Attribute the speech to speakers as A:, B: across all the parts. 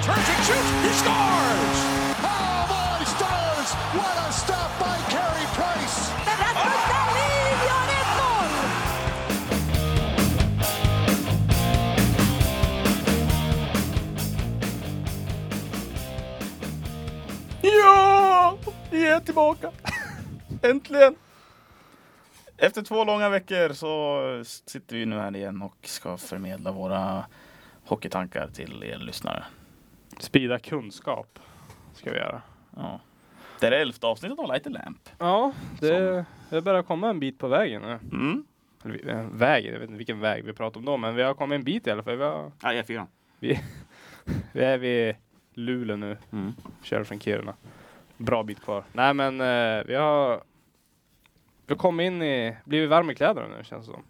A: shoots. He scores. Oh, my stars. What a stop by Carey Price.
B: Rasmus Dahlin gör ett mål!
C: Ja! Vi är tillbaka! Äntligen! Efter två långa veckor så sitter vi nu här igen och ska förmedla våra hockeytankar till er lyssnare.
D: Sprida kunskap ska vi göra.
C: Ja. Det är det elfte avsnittet av Light Lamp.
D: Ja, det, det börjar komma en bit på vägen nu.
C: Mm.
D: Eller, vi- eh, väg, jag vet inte vilken väg vi pratar om då, men vi har kommit en bit i alla fall. Vi, har,
C: Ja, E4.
D: vi är vid Luleå nu,
C: Mm.
D: kör från Kiruna. Bra bit kvar. Nej men eh, vi har vi har kommit in i, blivit varm i kläderna nu känns det som.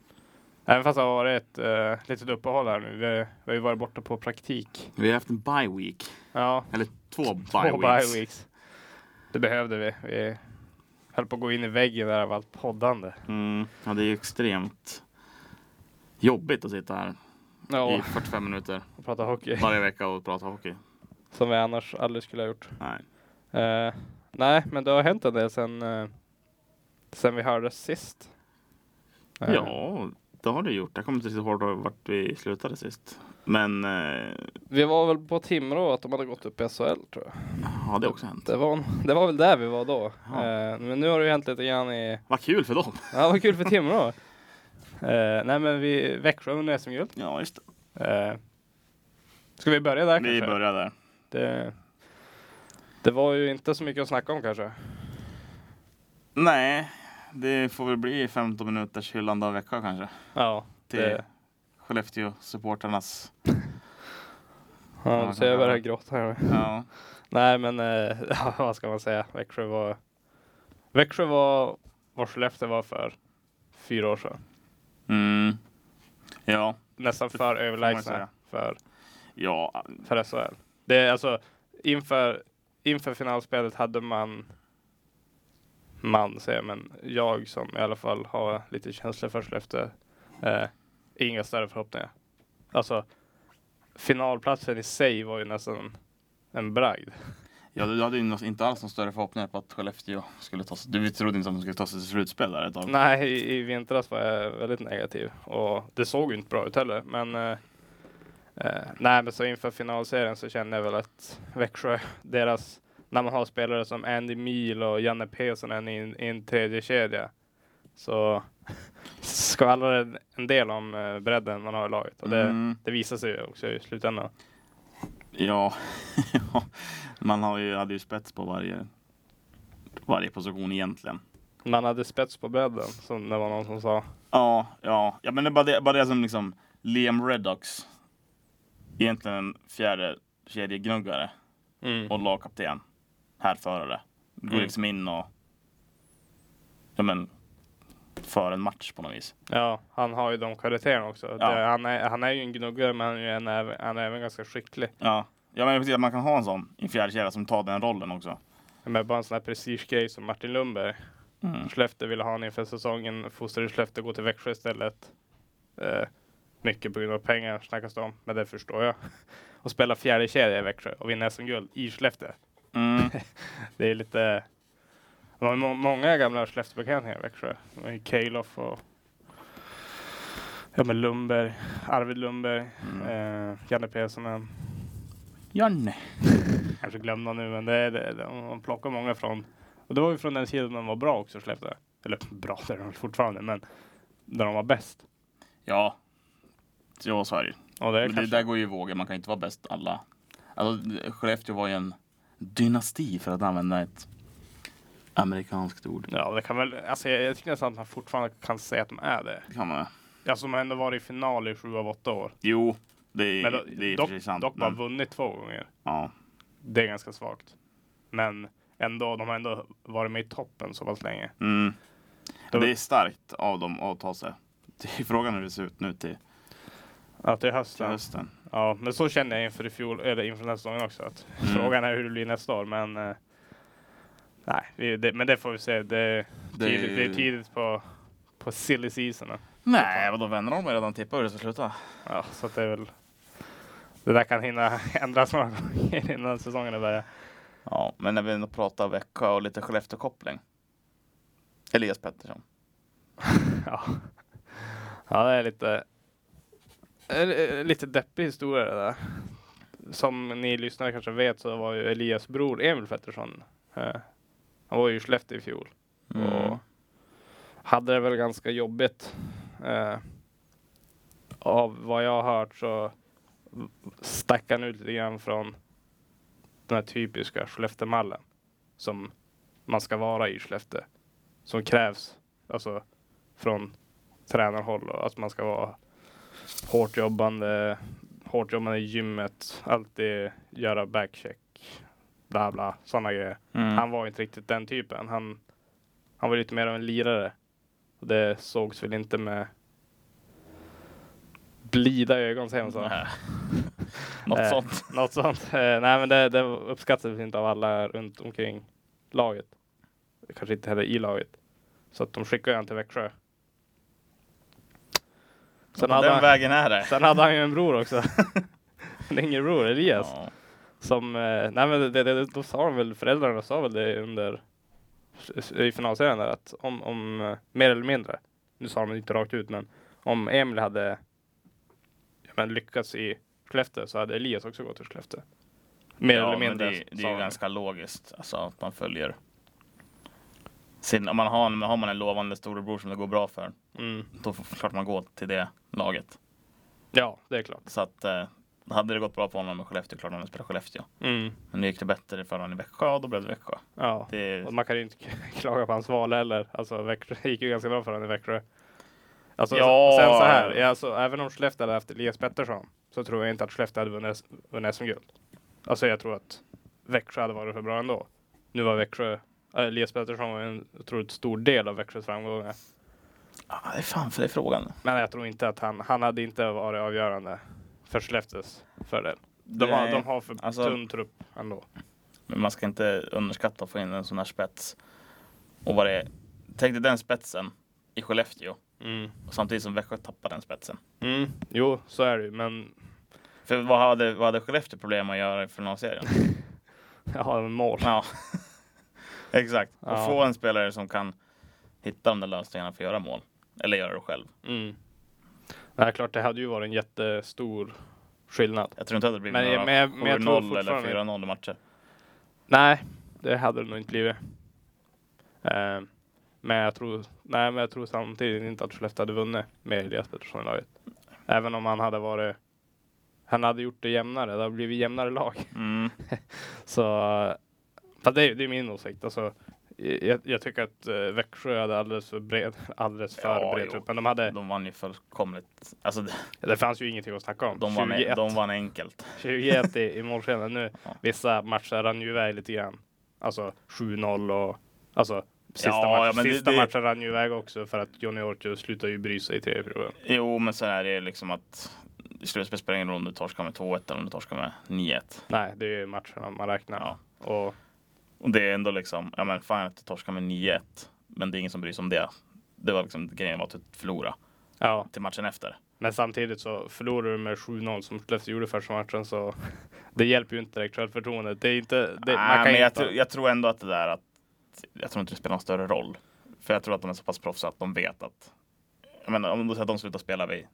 D: Även fast det har varit ett eh, litet uppehåll här nu. Vi, har- vi har ju varit borta på praktik.
C: Vi har haft en bye week.
D: Ja,
C: Eller två
D: Två bye weeks. Det behövde vi. Vi höll på att gå in i väggen där av allt poddande.
C: Mm. Ja, det är ju extremt jobbigt att sitta här
D: Ja,
C: i 45 minuter
D: och prata hockey.
C: varje vecka och prata hockey.
D: Som vi annars aldrig skulle ha gjort.
C: Nej.
D: Eh, nej, men det har hänt en del sen, eh, sen vi hördes sist. Eh,
C: Ja, det har du gjort. Jag kommer inte riktigt ihåg vart vi slutade sist. Men eh,
D: Vi var väl på Timrå att de hade gått upp i SHL tror jag.
C: har det också hänt?
D: Det var, det var väl där vi var då.
C: Ja.
D: Eh, men nu har det ju hänt lite grann i...
C: Vad kul för dem!
D: Ja, vad kul för Timrå. Eh, nej, men vi, Växjö under SM-guld.
C: Ja, just det.
D: Eh, ska vi börja där kanske?
C: Vi börjar där.
D: Det, det var ju inte så mycket att snacka om kanske.
C: Nej, det får väl bli 15 minuters hyllande av vecka kanske.
D: Ja,
C: Till
D: Det-
C: Skellefteå-supporternas.
D: ja du ser jag börjar gråta här.
C: Ja.
D: Nej men eh, ja, vad ska man säga, Växjö var Växjö var vad Skellefteå var för fyra år sedan.
C: Mm. Ja.
D: Nästan för överlägsna
C: säga.
D: för,
C: Ja.
D: för SHL. Det är alltså inför, inför finalspelet hade man man säger jag, men jag som i alla fall har lite känslor för Skellefteå. Eh, inga större förhoppningar. Alltså finalplatsen i sig var ju nästan en bragd.
C: ja, du hade ju nå- inte alls någon större förhoppningar på att Skellefteå skulle ta sig. Du trodde inte att de skulle ta sig till slutspel där ett tag.
D: Nej, i, i vintras var jag väldigt negativ och det såg ju inte bra ut heller. Men eh, eh, nej, men så inför finalserien så kände jag väl att Växjö, deras, när man har spelare som Andy Mil och Janne Pesonen i en- i en tredje kedja så skvallrar en- en del om eh, bredden man har i laget och det,
C: Mm.
D: det visar sig ju också i slutändan.
C: Ja, ja. man har ju, hade ju spets på varje, varje position egentligen.
D: Man hade spets på bredden som det var någon som sa.
C: Ja, ja, ja men det är bara det, bara det som liksom Liam Reddox. Egentligen en fjärde kedjegnuggare och lagkapten. Härförare. Går
D: Mm.
C: liksom in och ja, men, för en match på något vis.
D: Ja, han har ju de kvaliteterna också.
C: Ja.
D: Det, han, är, han är ju en gnuggare men han är, ju en, äv- han är även ganska skicklig.
C: Ja, ja men precis att man kan ha en sån i en fjärde kedja som tar den rollen också.
D: Men bara en sån här prestigegrej som Martin Lundberg.
C: Mm.
D: Skellefteå ville ha honom inför säsongen. Fostrade Skellefteå gå till Växjö istället. Eh, mycket på grund av pengar snackas det om, men det förstår jag. Och spela fjärde kedja i Växjö och vinna SM-guld i Skellefteå.
C: Mm.
D: Det är lite... Det var må- många gamla Skellefteåbekantningar i Växjö. Det var ju Kejlof och... Ja men Lundberg, Arvid Lundberg, eh, Janne Pesonen.
C: Janne.
D: kanske glömda nu, men det är det, det, man plockar många från. Och det var ju från den sidan man var bra också, Skellefteå. Eller bra, det är de fortfarande, men där de var bäst.
C: Ja. Jo, så är det ju.
D: Och det är
C: Men det
D: kanske,
C: där går ju i vågor. Man kan ju inte vara bäst alla. Alltså, Skellefteå var ju en dynasti för att använda ett amerikanskt ord.
D: Ja, det kan väl, alltså jag, jag tycker nästan att man fortfarande kan säga att de är det.
C: Det kan man.
D: Alltså de har ändå varit i final i sju av åtta år.
C: Jo, det är,
D: Men
C: det är
D: dock,
C: precis sant.
D: dock bara
C: men,
D: vunnit två gånger.
C: ja.
D: Det är ganska svagt. Men ändå, de har ändå varit med i toppen så pass länge.
C: mm.
D: Det var-
C: Det är starkt av dem att ta sig. Det är frågan hur det ser ut nu till,
D: Ja, till
C: till
D: hösten.
C: hösten.
D: Ja, men så kände jag inför i fjol, eller inför den här säsongen också. Att
C: Mm.
D: Frågan är hur det blir nästa år, men eh, nej, vi, det, men det får vi se. Det, det,
C: Det är-
D: tidigt, det är tidigt på, på silly season.
C: Nej, vadå vänner? De har redan tippat hur det ska sluta.
D: Ja, så att det är väl Det där kan hinna ändras några gånger innan säsongen börjar.
C: Ja, men när vi ändå pratar Växjö och lite Skellefteå-koppling. Elias Pettersson.
D: Ja. ja, det är lite, eh, lite deppig historia det där. Som ni lyssnare kanske vet så var ju Elias bror Emil Pettersson, eh, han var ju i Skellefteå i fjol.
C: Mm.
D: Och hade det väl ganska jobbigt. Eh, av vad jag har hört så stack han ut lite grann från den här typiska Skellefteå-mallen som man ska vara i Skellefteå. Som krävs alltså från tränarhåll och att man ska vara hårt jobbande, hårt jobbande i gymmet, alltid göra backcheck, bla bla, sådana grejer.
C: Mm.
D: Han var inte riktigt den typen. Han, han var lite mer av en lirare. Och det sågs väl inte med blida ögon säger man så.
C: Nej. Något
D: Eh,
C: sånt.
D: Något sånt. Eh, nej men det, det uppskattades inte av alla runt omkring laget. Kanske inte heller i laget. Så att de skickade han till Växjö. Sen
C: Den
D: hade, han,
C: vägen är det.
D: sen hade han ju en bror också. en yngre bror, Elias.
C: Ja.
D: Som, eh, nej men det, det, det, då sa de väl, föräldrarna sa väl det under i finalserien där att om, om eh, mer eller mindre, nu sa de det inte rakt ut men om Emil hade ja, men, lyckats i Skellefteå så hade Elias också gått till Skellefteå. Mer
C: Ja,
D: eller
C: men
D: mindre.
C: Det, det
D: sa
C: är ju
D: de.
C: ganska logiskt alltså, att man följer. Sin, om man har, en- har man en lovande storebror som det går bra för,
D: Mm.
C: då får klart man går till det laget.
D: Ja, det är klart.
C: Så att eh, hade det gått bra för honom i Skellefteå, klart han hade spelat Skellefteå.
D: Mm.
C: Men nu gick det bättre för honom i Växjö, och då blev det Växjö.
D: Ja.
C: Det,
D: Och man kan ju inte klaga på hans val heller. Alltså Växjö det gick ju ganska bra för honom i Växjö. Alltså,
C: Ja.
D: Sen så här, ja, alltså, även om Skellefteå hade haft Elias Pettersson så tror jag inte att Skellefteå hade vunnit, vunnit SM-guld. Alltså jag tror att Växjö hade varit för bra ändå. Nu var Växjö, äh, Elias Pettersson var ju en otroligt stor del av Växjös framgångar.
C: ah, det är fan för det är frågan.
D: Men jag tror inte att han, han hade inte varit avgörande för Skellefteås fördel. De har,
C: Nej,
D: de har för
C: alltså-
D: tunn trupp ändå.
C: Men man ska inte underskatta att få in en sån här spets. Och vad det är. Tänk dig den spetsen i Skellefteå,
D: Mm.
C: och samtidigt som Växjö tappar den spetsen.
D: Mm. Jo, så är det ju, men
C: För vad hade, vad hade Skellefteå problem att göra i finalserien?
D: jag har en mål.
C: Ja, exakt. Och
D: Ja.
C: få en spelare som kan hitta de där lösningarna för att göra mål. Eller göra det själv.
D: Mm. Nej, klart det hade ju varit en jättestor skillnad.
C: Jag tror inte att det blir
D: Men-
C: några
D: men jag- men jag tror
C: 7-0 eller
D: fortfarande-
C: 4-0 i matcher.
D: Nej, det hade det nog inte blivit. Eh, men, jag tror, nej, men jag tror samtidigt inte att Skellefteå hade vunnit med Elias Pettersson i laget. Även om han hade varit han hade gjort det jämnare, det hade blivit jämnare lag.
C: Mm.
D: Så, fast det, är- det är min åsikt. Alltså, jag, jag tycker att eh, Växjö hade alldeles för bred, alldeles för
C: Ja,
D: bred
C: jo.
D: trupp. Men de hade,
C: De vann ju fullkomligt. Alltså, de,
D: det fanns ju ingenting att snacka om.
C: de, vann,
D: 21.
C: de vann enkelt.
D: 21 i, i målskillnad. Nu,
C: Ja.
D: vissa matcher rann ju iväg lite grann. Alltså 7-0 och alltså sista,
C: Ja, ja,
D: match,
C: men det-
D: sista
C: det-
D: matchen rann ju iväg också för att Johnny Ortio slutade ju bry sig i tredje perioden.
C: Jo, men så är det liksom att i slutspel spelar det ingen roll om du torskar med 2-1 eller om du torskar med 9-1.
D: Nej, det är ju matcherna man räknar.
C: Ja.
D: Och
C: Och det är ändå liksom, ja men fan att du torskar med 9-1. Men det är ingen som bryr sig om det. Det var liksom grejen var att du förlorade
D: ja,
C: till matchen efter.
D: men samtidigt så förlorar du med 7-0 som Skellefteå gjorde första matchen så det hjälper ju inte direkt självförtroendet. Det är inte, det,
C: Nej,
D: man kan
C: men
D: ju
C: jag,
D: inte...
C: tror- jag tror ändå att det där att jag tror inte det spelar någon större roll. För jag tror att de är så pass proffs att de vet att jag menar, om du säger att de slutar spela vid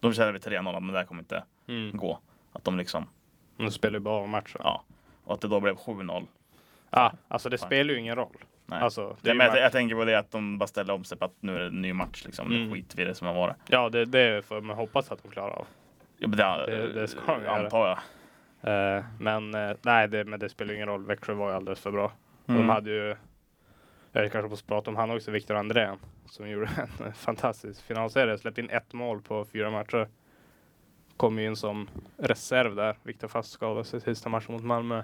C: de känner vid 3-0, men det här kommer inte
D: Mm.
C: gå. Att de liksom,
D: Nu spelar ju bara av matchen.
C: ja. Och att det då blev 7-0.
D: Ja, alltså det spelar ju ingen roll.
C: Nej.
D: Alltså, det
C: Nej,
D: är
C: men
D: ju
C: jag, jag tänker på det att de bara ställer om sig på att nu är det en ny match liksom.
D: Mm.
C: Nu skiter vi i det som har varit.
D: Ja, det, det får man hoppas att de klarar av.
C: Ja, men det,
D: Det- det ska de göra.
C: antar jag.
D: Eh, men eh, nej, det, men det spelar ingen roll. Växjö var ju alldeles för bra. Och
C: Mm.
D: De hade ju, jag kanske måste prata om han också, Viktor Andrén, som gjorde en fantastisk finalserie. Släppte in ett mål på fyra matcher. Kom ju in som reserv där. Viktor Fast skadade sig sista matchen mot Malmö.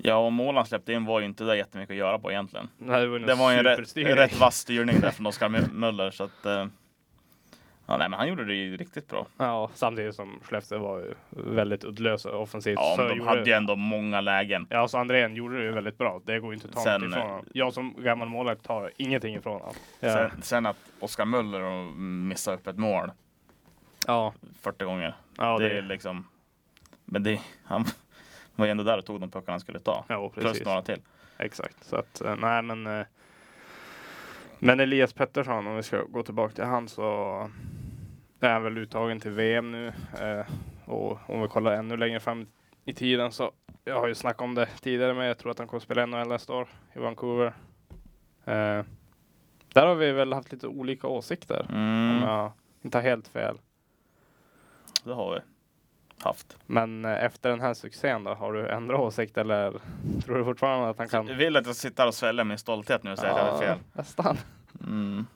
C: Ja, och målen han släppte in var ju inte där jättemycket att göra på egentligen.
D: Nej, Det var ju en,
C: Det var ju en rätt,
D: superstyrning.
C: rätt vass styrning där från Oskar Mö- Möller. Så att, eh, ja, nej, men han gjorde det ju riktigt bra.
D: Ja, samtidigt som Skellefteå var ju väldigt uddlösa offensivt.
C: Ja,
D: så
C: men de
D: gjorde-
C: hade ju ändå många lägen.
D: Ja, så Andrén gjorde det ju väldigt bra. Det går ju inte att ta
C: Sen- eh,
D: något ifrån honom. Jag som gammal målvakt tar ingenting ifrån honom. Ja.
C: Sen, sen att Oskar Möller och missar upp ett mål
D: ja.
C: 40 gånger.
D: ja,
C: det är liksom, Men det, han var ju ändå där och tog de puckarna han skulle ta.
D: Ja,
C: Plus
D: precis.
C: några till.
D: Exakt. Så att, eh, nej men. eh, Men Elias Pettersson, om vi ska gå tillbaka till han så är han väl uttagen till VM nu. eh, Och om vi kollar ännu längre fram i tiden så, jag har ju snackat om det tidigare, men jag tror att han kommer spela NHL nästa år i Vancouver. Eh, Där har vi väl haft lite olika åsikter. Om
C: Mm,
D: jag inte har helt fel.
C: det har vi haft.
D: Men eh, efter den här succén då, har du ändrat åsikt eller tror du fortfarande att han
C: Du
D: kan?
C: vill att jag sitter här och sväljer min stolthet nu och säger att jag har fel?
D: nästan.
C: Mm.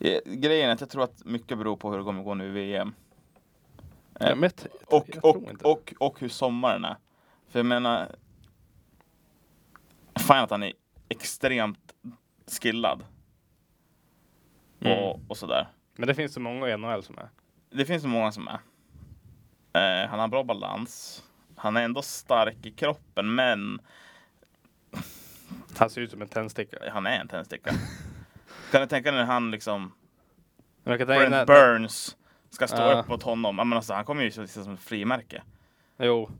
C: Eh, Grejen är att jag tror att mycket beror på hur det kommer gå nu i VM. Eh,
D: Ja, men jag t-
C: Och,
D: jag tror
C: och,
D: inte.
C: och, och hur sommaren är. För jag menar... Fan att han är extremt skillad.
D: Mm.
C: Och, och sådär.
D: Men det finns så många i NHL som är.
C: Det finns så många som är. Eh, han har bra balans. Han är ändå stark i kroppen, men
D: Han ser ut som en tändsticka.
C: han är en tändsticka. kan du tänka dig när han liksom...
D: Men jag kan tänka
C: Brent
D: när-
C: Burns ska stå
D: Ja.
C: upp mot honom. Ja, Men alltså, han kommer ju se som ett frimärke.
D: Jo.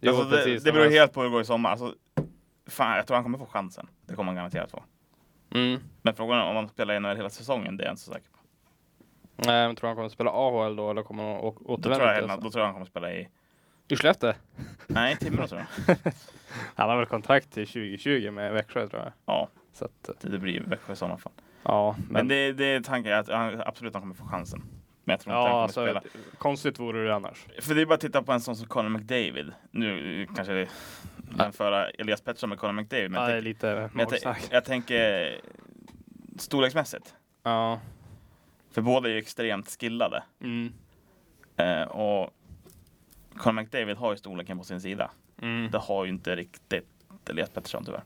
D: jo
C: alltså, det,
D: precis,
C: det
D: han
C: beror
D: är-
C: helt på hur det går i sommar. Alltså, fan, jag tror han kommer få chansen. Det kommer han garanterat få.
D: Mm.
C: Men frågan är om han spelar i NHL hela säsongen, det är jag inte så säker på.
D: Nej, men tror du han kommer spela AHL då eller kommer han å-
C: Då tror, jag,
D: återvända
C: hela-
D: till
C: då tror jag han kommer spela i...
D: I Skellefteå?
C: Nej, Timrå tror jag.
D: Han har väl kontrakt till 2020 med Växjö tror jag.
C: Ja,
D: Så att, eh,
C: det, det blir Växjö i sådana fall.
D: ja.
C: Men, det, det är tanken att han, absolut han kommer få chansen. Men jag tror inte han
D: ja,
C: kommer
D: alltså,
C: spela.
D: konstigt vore det annars.
C: För det är bara att titta på en sån som Conor McDavid. Nu eh, kanske det jämföra Elias Pettersson med Conor McDavid. Men
D: Ja, det är
C: jag, tänk,
D: lite
C: men jag,
D: magsnack.
C: tänk, jag tänker storleksmässigt.
D: Ja.
C: För båda är ju extremt skillade.
D: Mm.
C: Eh, och Conor McDavid har ju storleken på sin sida.
D: Mm.
C: Det har ju inte riktigt Elias Pettersson tyvärr.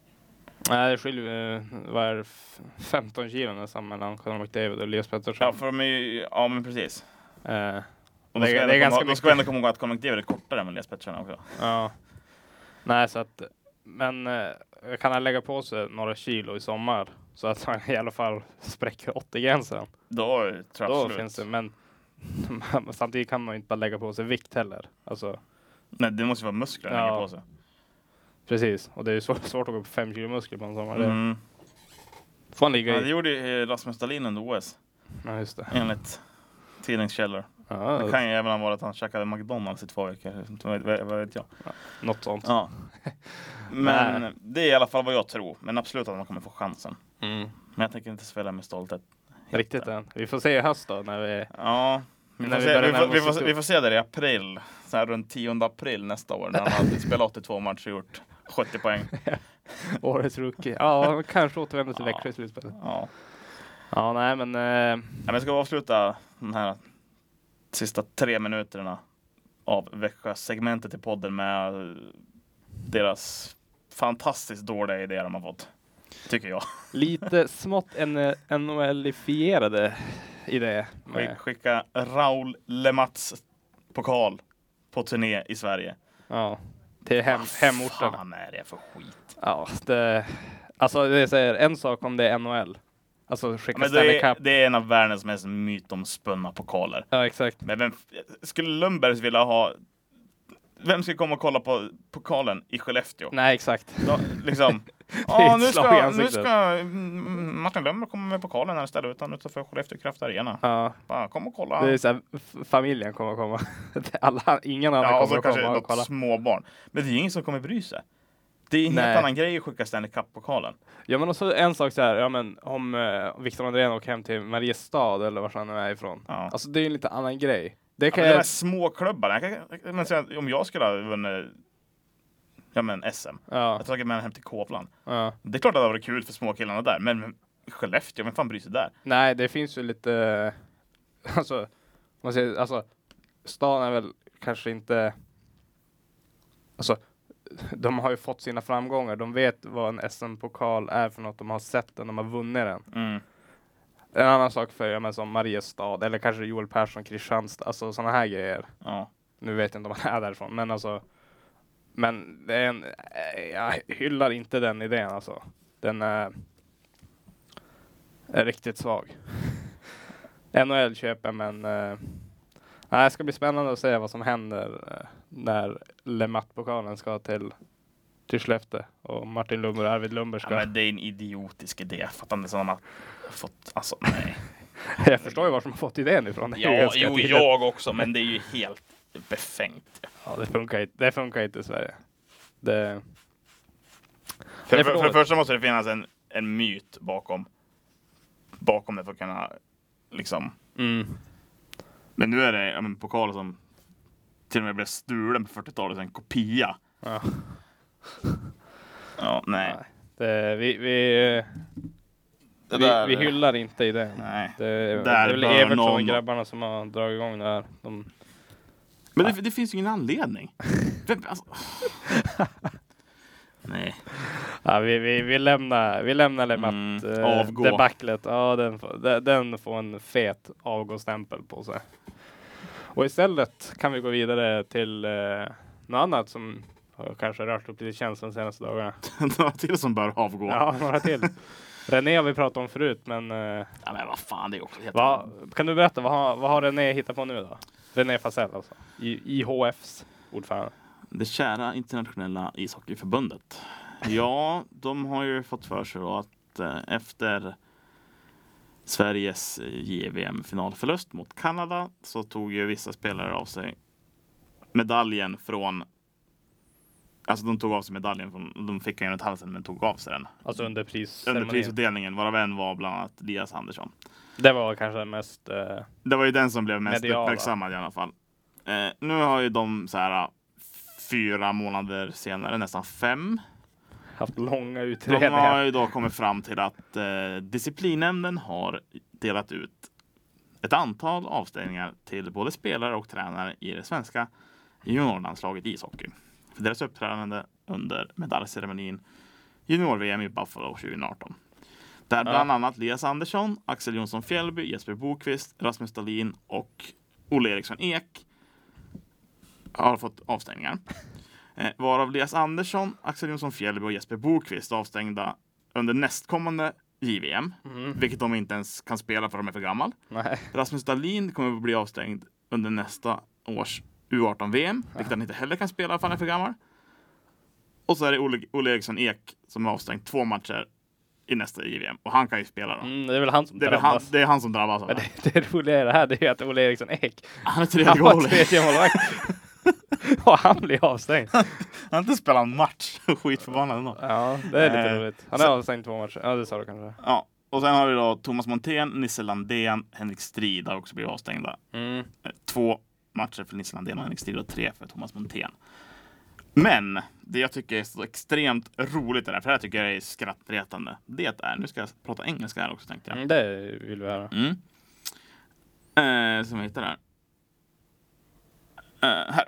D: Nej, det skiljer eh, vad är det, f- 15 kilo nästan mellan Conor McDavid och Elias Pettersson.
C: Ja, för de är ju, ja men precis.
D: Eh,
C: Och
D: Det-
C: det,
D: det är
C: är
D: ganska
C: ganska Då ska
D: mycket.
C: vi ändå komma ihåg att Comic David är kortare än Elias Pettersson också.
D: Ja. Nej, så att, men eh, kan han lägga på sig några kilo i sommar så att han i alla fall spräcker 80-gränsen,
C: Då tror jag
D: då
C: absolut.
D: finns det. Men samtidigt kan man ju inte bara lägga på sig vikt heller. Alltså,
C: Nej, det måste ju vara muskler han
D: Ja.
C: lägger på sig.
D: precis, och det är ju svårt, svårt att gå upp 5 kilo muskler på en sommar. Det
C: Mm.
D: får han
C: Ja,
D: ligga
C: det
D: i.
C: gjorde ju eh, Rasmus Dahlin under OS,
D: Ja, just det.
C: enligt tidningskällor. Det
D: Ja,
C: kan ju även ha varit att han käkade McDonalds i två veckor. Vad vet- Vad vet jag?
D: något sånt.
C: Ja. Men
D: Nej.
C: det är i alla fall vad jag tror. Men absolut att man kommer få chansen.
D: Mm.
C: Men jag tänker inte svälja med stolthet.
D: Riktigt än. Vi får se i höst då när vi...
C: Ja. Vi
D: När
C: får,
D: vi
C: se,
D: börjar
C: vi, får,
D: närma
C: vi,
D: oss typ-
C: får,
D: ett
C: vi får se det i april. Så här runt 10 april nästa år. När han har spelat 82 matcher och gjort 70 poäng.
D: Årets rookie. Ja, kanske återvänder till
C: Ja.
D: Växjö i slutspelet.
C: Ja.
D: Ja, nej men... Eh,
C: Ja, men ska vi avsluta de här sista tre minuterna av Växjö-segmentet i podden med eh, deras fantastiskt dåliga idéer de har fått. Tycker jag.
D: Lite smått en- eh, NHL-ifierade i det.
C: Skick,
D: Med,
C: skicka Raoul Lemats pokal på turné i Sverige.
D: ja, till hem, hemorten.
C: Vad fan är det för skit?
D: Ja, det, alltså det säger en sak om det är NHL. Alltså
C: Ja,
D: skicka
C: Men
D: Stanley
C: det, är,
D: Cup.
C: det är en av världens mest mytomspunna pokaler.
D: Ja, exakt.
C: Men vem, skulle Lundbergs vilja ha... Vem skulle komma och kolla på pokalen i Skellefteå?
D: Nej, exakt.
C: Ja, liksom.
D: är
C: Ja,
D: ett
C: nu
D: slag i
C: ska, nu
D: ansiktet.
C: ska mm, Martin Lönnberg komma med pokalen här istället utan utanför Skellefteå Kraft Arena.
D: Ja,
C: Bara, kom och kolla.
D: det är så här, f- familjen kommer att komma. Alla, ingen annan
C: ja, och
D: kommer
C: så
D: att
C: kanske
D: komma och
C: något
D: kolla.
C: småbarn. Men det är ju ingen som kommer bry sig. Det är en
D: Nej.
C: helt annan grej att skicka Stanley Cup-pokalen.
D: Ja, men också en sak så här, ja men om eh, Viktor Andrén åker hem till Mariestad eller var han nu är ifrån.
C: Ja.
D: Alltså det är ju en lite annan grej. Det
C: Ja,
D: kan
C: men de här
D: jag...
C: små klubbarna. Jag kan, men sen, om jag skulle ha vunnit ja, men SM,
D: Ja,
C: jag tagit med mig hem till Kovland.
D: ja.
C: Det är klart att det hade varit kul för småkillarna där, men, men Skellefteå, vem fan bryr sig där?
D: Nej, det finns ju lite, alltså, man säger, alltså, stan är väl kanske inte, alltså, de har ju fått sina framgångar. De vet vad en SM-pokal är för något. De har sett den, de har vunnit den.
C: Mm.
D: En annan sak för, ja men som Mariestad eller kanske Joel Persson, Kristianstad, alltså sådana här grejer.
C: Ja.
D: Nu vet jag inte om han är därifrån, men alltså, men det är en, eh, jag hyllar inte den idén alltså. Den är, är riktigt svag. NHL köper men eh, Nej, det ska bli spännande att se vad som händer eh, när Lematt-pokalen ska till, till Skellefteå och Martin Lundberg och Arvid Lundberg
C: Ja,
D: ska.
C: men det är en idiotisk idé. Jag fattar inte sådana man fått. Alltså nej.
D: jag förstår ju var som har fått idén ifrån. Det är ju
C: Ja,
D: ganska
C: jo,
D: tidigt.
C: jag också, men det är ju helt befängt.
D: Ja, det, funkar inte, det funkar inte i Sverige. Det,
C: För, för,
D: Nej, för
C: för,
D: då-
C: det första måste det finnas en, en myt bakom, bakom det för att kunna liksom.
D: mm.
C: Men nu är det ja, men, pokal som till och med blev stulen på 40-talet, en kopia.
D: ja.
C: Ja, nej.
D: Nej. Det, vi, vi, eh,
C: Det
D: vi,
C: där-
D: vi hyllar inte idén.
C: Nej.
D: Det, är- det
C: Där
D: är väl
C: bör
D: Evertsson och
C: någon-
D: grabbarna som har dragit igång det här. De,
C: Men det, det finns ju ingen anledning. Vem, alltså. Nej.
D: ja, vi, vi, vi lämnar, vi lämnar Lematt.
C: Mm,
D: eh,
C: avgå.
D: debaclet. Ja, den, får- de- den får en fet avgåstämpel på sig. Och istället kan vi gå vidare till eh, något annat som har kanske rört upp lite känslor de senaste dagarna.
C: Några till som bör avgå. Ja.
D: Ja, några till. René har vi pratat om förut, men eh,
C: men vad fan, det är också helt...
D: vad- kan du berätta vad har, vad har René hittat på nu då? René Fasell alltså, I, IHFs ordförande.
C: Det kära internationella ishockeyförbundet. Ja, de har ju fått för sig då att eh, efter Sveriges eh, JVM-finalförlust mot Kanada så tog ju vissa spelare av sig medaljen från Alltså de tog av sig medaljen, från, de fick den runt halsen men tog av sig den.
D: Alltså under prisceremonin.
C: Under prisutdelningen, varav en var bland annat Elias Andersson.
D: Det var kanske den mest... Eh,
C: Det var ju den som blev mest
D: Mediala.
C: uppmärksammad i alla fall. Eh, nu har ju de så här eh, fyra månader senare, nästan fem.
D: haft långa
C: De har
D: utredningar.
C: ju då kommit fram till att eh, disciplinnämnden har delat ut ett antal avstängningar till både spelare och tränare i det svenska juniorlandslaget i ishockey. För deras uppträdande under medaljceremonin junior-VM i Buffalo 2018. Där bland annat Elias Andersson, Axel Jonsson Fjällby, Jesper Bokvist, Rasmus Dahlin och Olle Eriksson Ek har fått avstängningar. Eh, varav Elias Andersson, Axel Jonsson Fjällby och Jesper Bokvist är avstängda under nästkommande JVM. Vilket de inte ens kan spela för de är för gammal.
D: Nej.
C: Rasmus Dahlin kommer att bli avstängd under nästa års U18-VM, vilket han inte heller kan spela för han är för gammal. Och så är det Olle, Olle Eriksson Ek som är avstängd två matcher i nästa JVM och han kan ju spela då.
D: Mm, det är väl han som
C: Det, är väl han,
D: drabbas.
C: det är han som drabbas av det.
D: Men det, det roliga i det här det är ju att Olle Eriksson Ek,
C: Han är
D: han
C: tredje
D: var
C: målet.
D: tredje målvakt. Och han blir avstängd.
C: Han har inte spelat en match. Skitförbannad ändå.
D: Ja, det är lite
C: Eh,
D: roligt. Han är avstängd två matcher. Ja, det sa du kanske.
C: Ja, och sen har vi då Thomas Montén, Nisse Landén, Henrik Strid har också blivit avstängda.
D: Mm.
C: Eh, Två matcher för Nisse Landén och Henrik Strid och tre för Thomas Montén. Men det jag tycker är så extremt roligt i det här, för det här tycker jag är skrattretande. Det är, eh, nu ska jag prata engelska här också tänkte jag.
D: Mm, det vill vi höra.
C: Mm. Eh, som jag hittar här. Eh, här.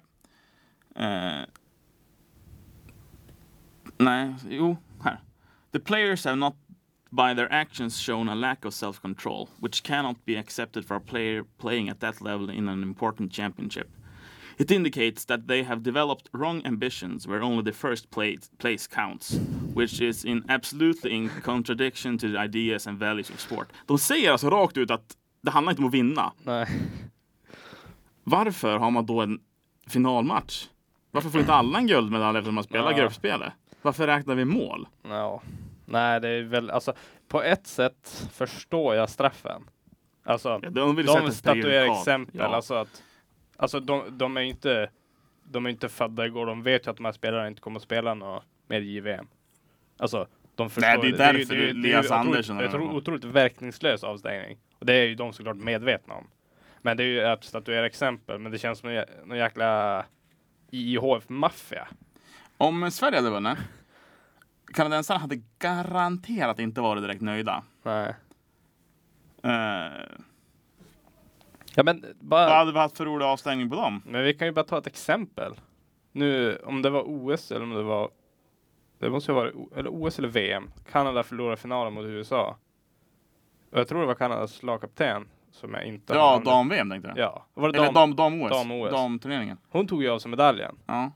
C: Eh. nej, jo, här. The players have not by their actions shown a lack of self-control, which cannot be accepted for a player playing at that level in an important championship. It indicates that they have developed wrong ambitions where only the first place, place counts, which is in absolutely in contradiction to the ideas and values of sport. De säger alltså rakt ut att det handlar inte om att vinna.
D: Nej.
C: Varför har man då en finalmatch? Varför får inte alla en guldmedalj eftersom man spelar
D: Ja.
C: gruppspelet? Varför räknar vi mål?
D: Ja. Nej, det är väl alltså på ett sätt förstår jag straffen. Alltså,
C: Ja, de vill sätta
D: de
C: ett
D: statuerar
C: prejudikat.
D: exempel.
C: Ja.
D: Alltså att, alltså de, de är ju inte, de är inte födda igår. De vet ju att de här spelarna inte kommer att spela något mer JVM. Alltså, de förstår
C: Nej, det är
D: ju- ju-
C: därför
D: ju-
C: det är Elias
D: ju otroligt-
C: Andersson
D: Det är
C: eller
D: otro-
C: något.
D: otroligt verkningslös avstängning. Och det är ju de såklart medvetna om. Men det är ju att statuera exempel. Men det känns som en jä- någon jäkla IHF-maffia.
C: Om Sverige hade vunnit, kanadensarna hade garanterat inte varit direkt nöjda.
D: Nej.
C: Eh,
D: Ja, men bara...
C: Vad hade vi haft för rolig avstängning på dem?
D: Men vi kan ju bara ta ett exempel. Nu, om det var OS eller om det var... Det måste ju vara eller OS eller VM. Kanada förlorade finalen mot USA. Och jag tror det var Kanadas lagkapten som jag inte har
C: Ja,
D: namnet-
C: dam-VM tänkte du?
D: Ja, var det
C: Eller
D: dam?
C: dam- dam-OS?
D: dam-OS.
C: Damturneringen.
D: Hon tog ju av sig medaljen.
C: Ja.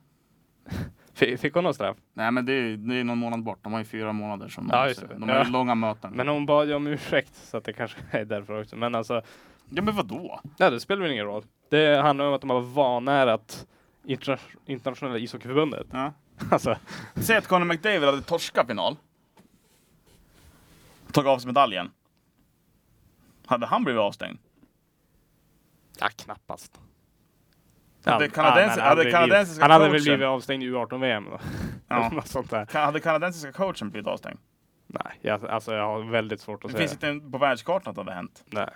D: F- fick hon någon straff?
C: Nej, men det är, det är någon månad bort. De har ju fyra månader som de
D: Ja, just
C: måste,
D: det.
C: De har ju
D: Ja.
C: långa möten.
D: Men hon bad ju om ursäkt, så att det kanske är därför också. Men alltså,
C: Ja, men vadå?
D: nej, det spelar väl ingen roll. Det handlar om att de har vanärat interna internationella ishockeyförbundet.
C: Ja.
D: Alltså,
C: Säg att Conor McDavid hade torskat final. Tog av sig medaljen. Hade han blivit avstängd?
D: ja, knappast.
C: Hade kanadensi- hade
D: hade blivit,
C: kanadensiska
D: han hade väl
C: coachen-
D: blivit avstängd i U18-VM då?
C: Ja.
D: Något sånt där.
C: Ka- Hade kanadensiska coachen blivit avstängd?
D: Nej, jag, alltså jag har väldigt svårt att
C: Det
D: säga.
C: finns inte en- på världskartan att det hade hänt.
D: Nej.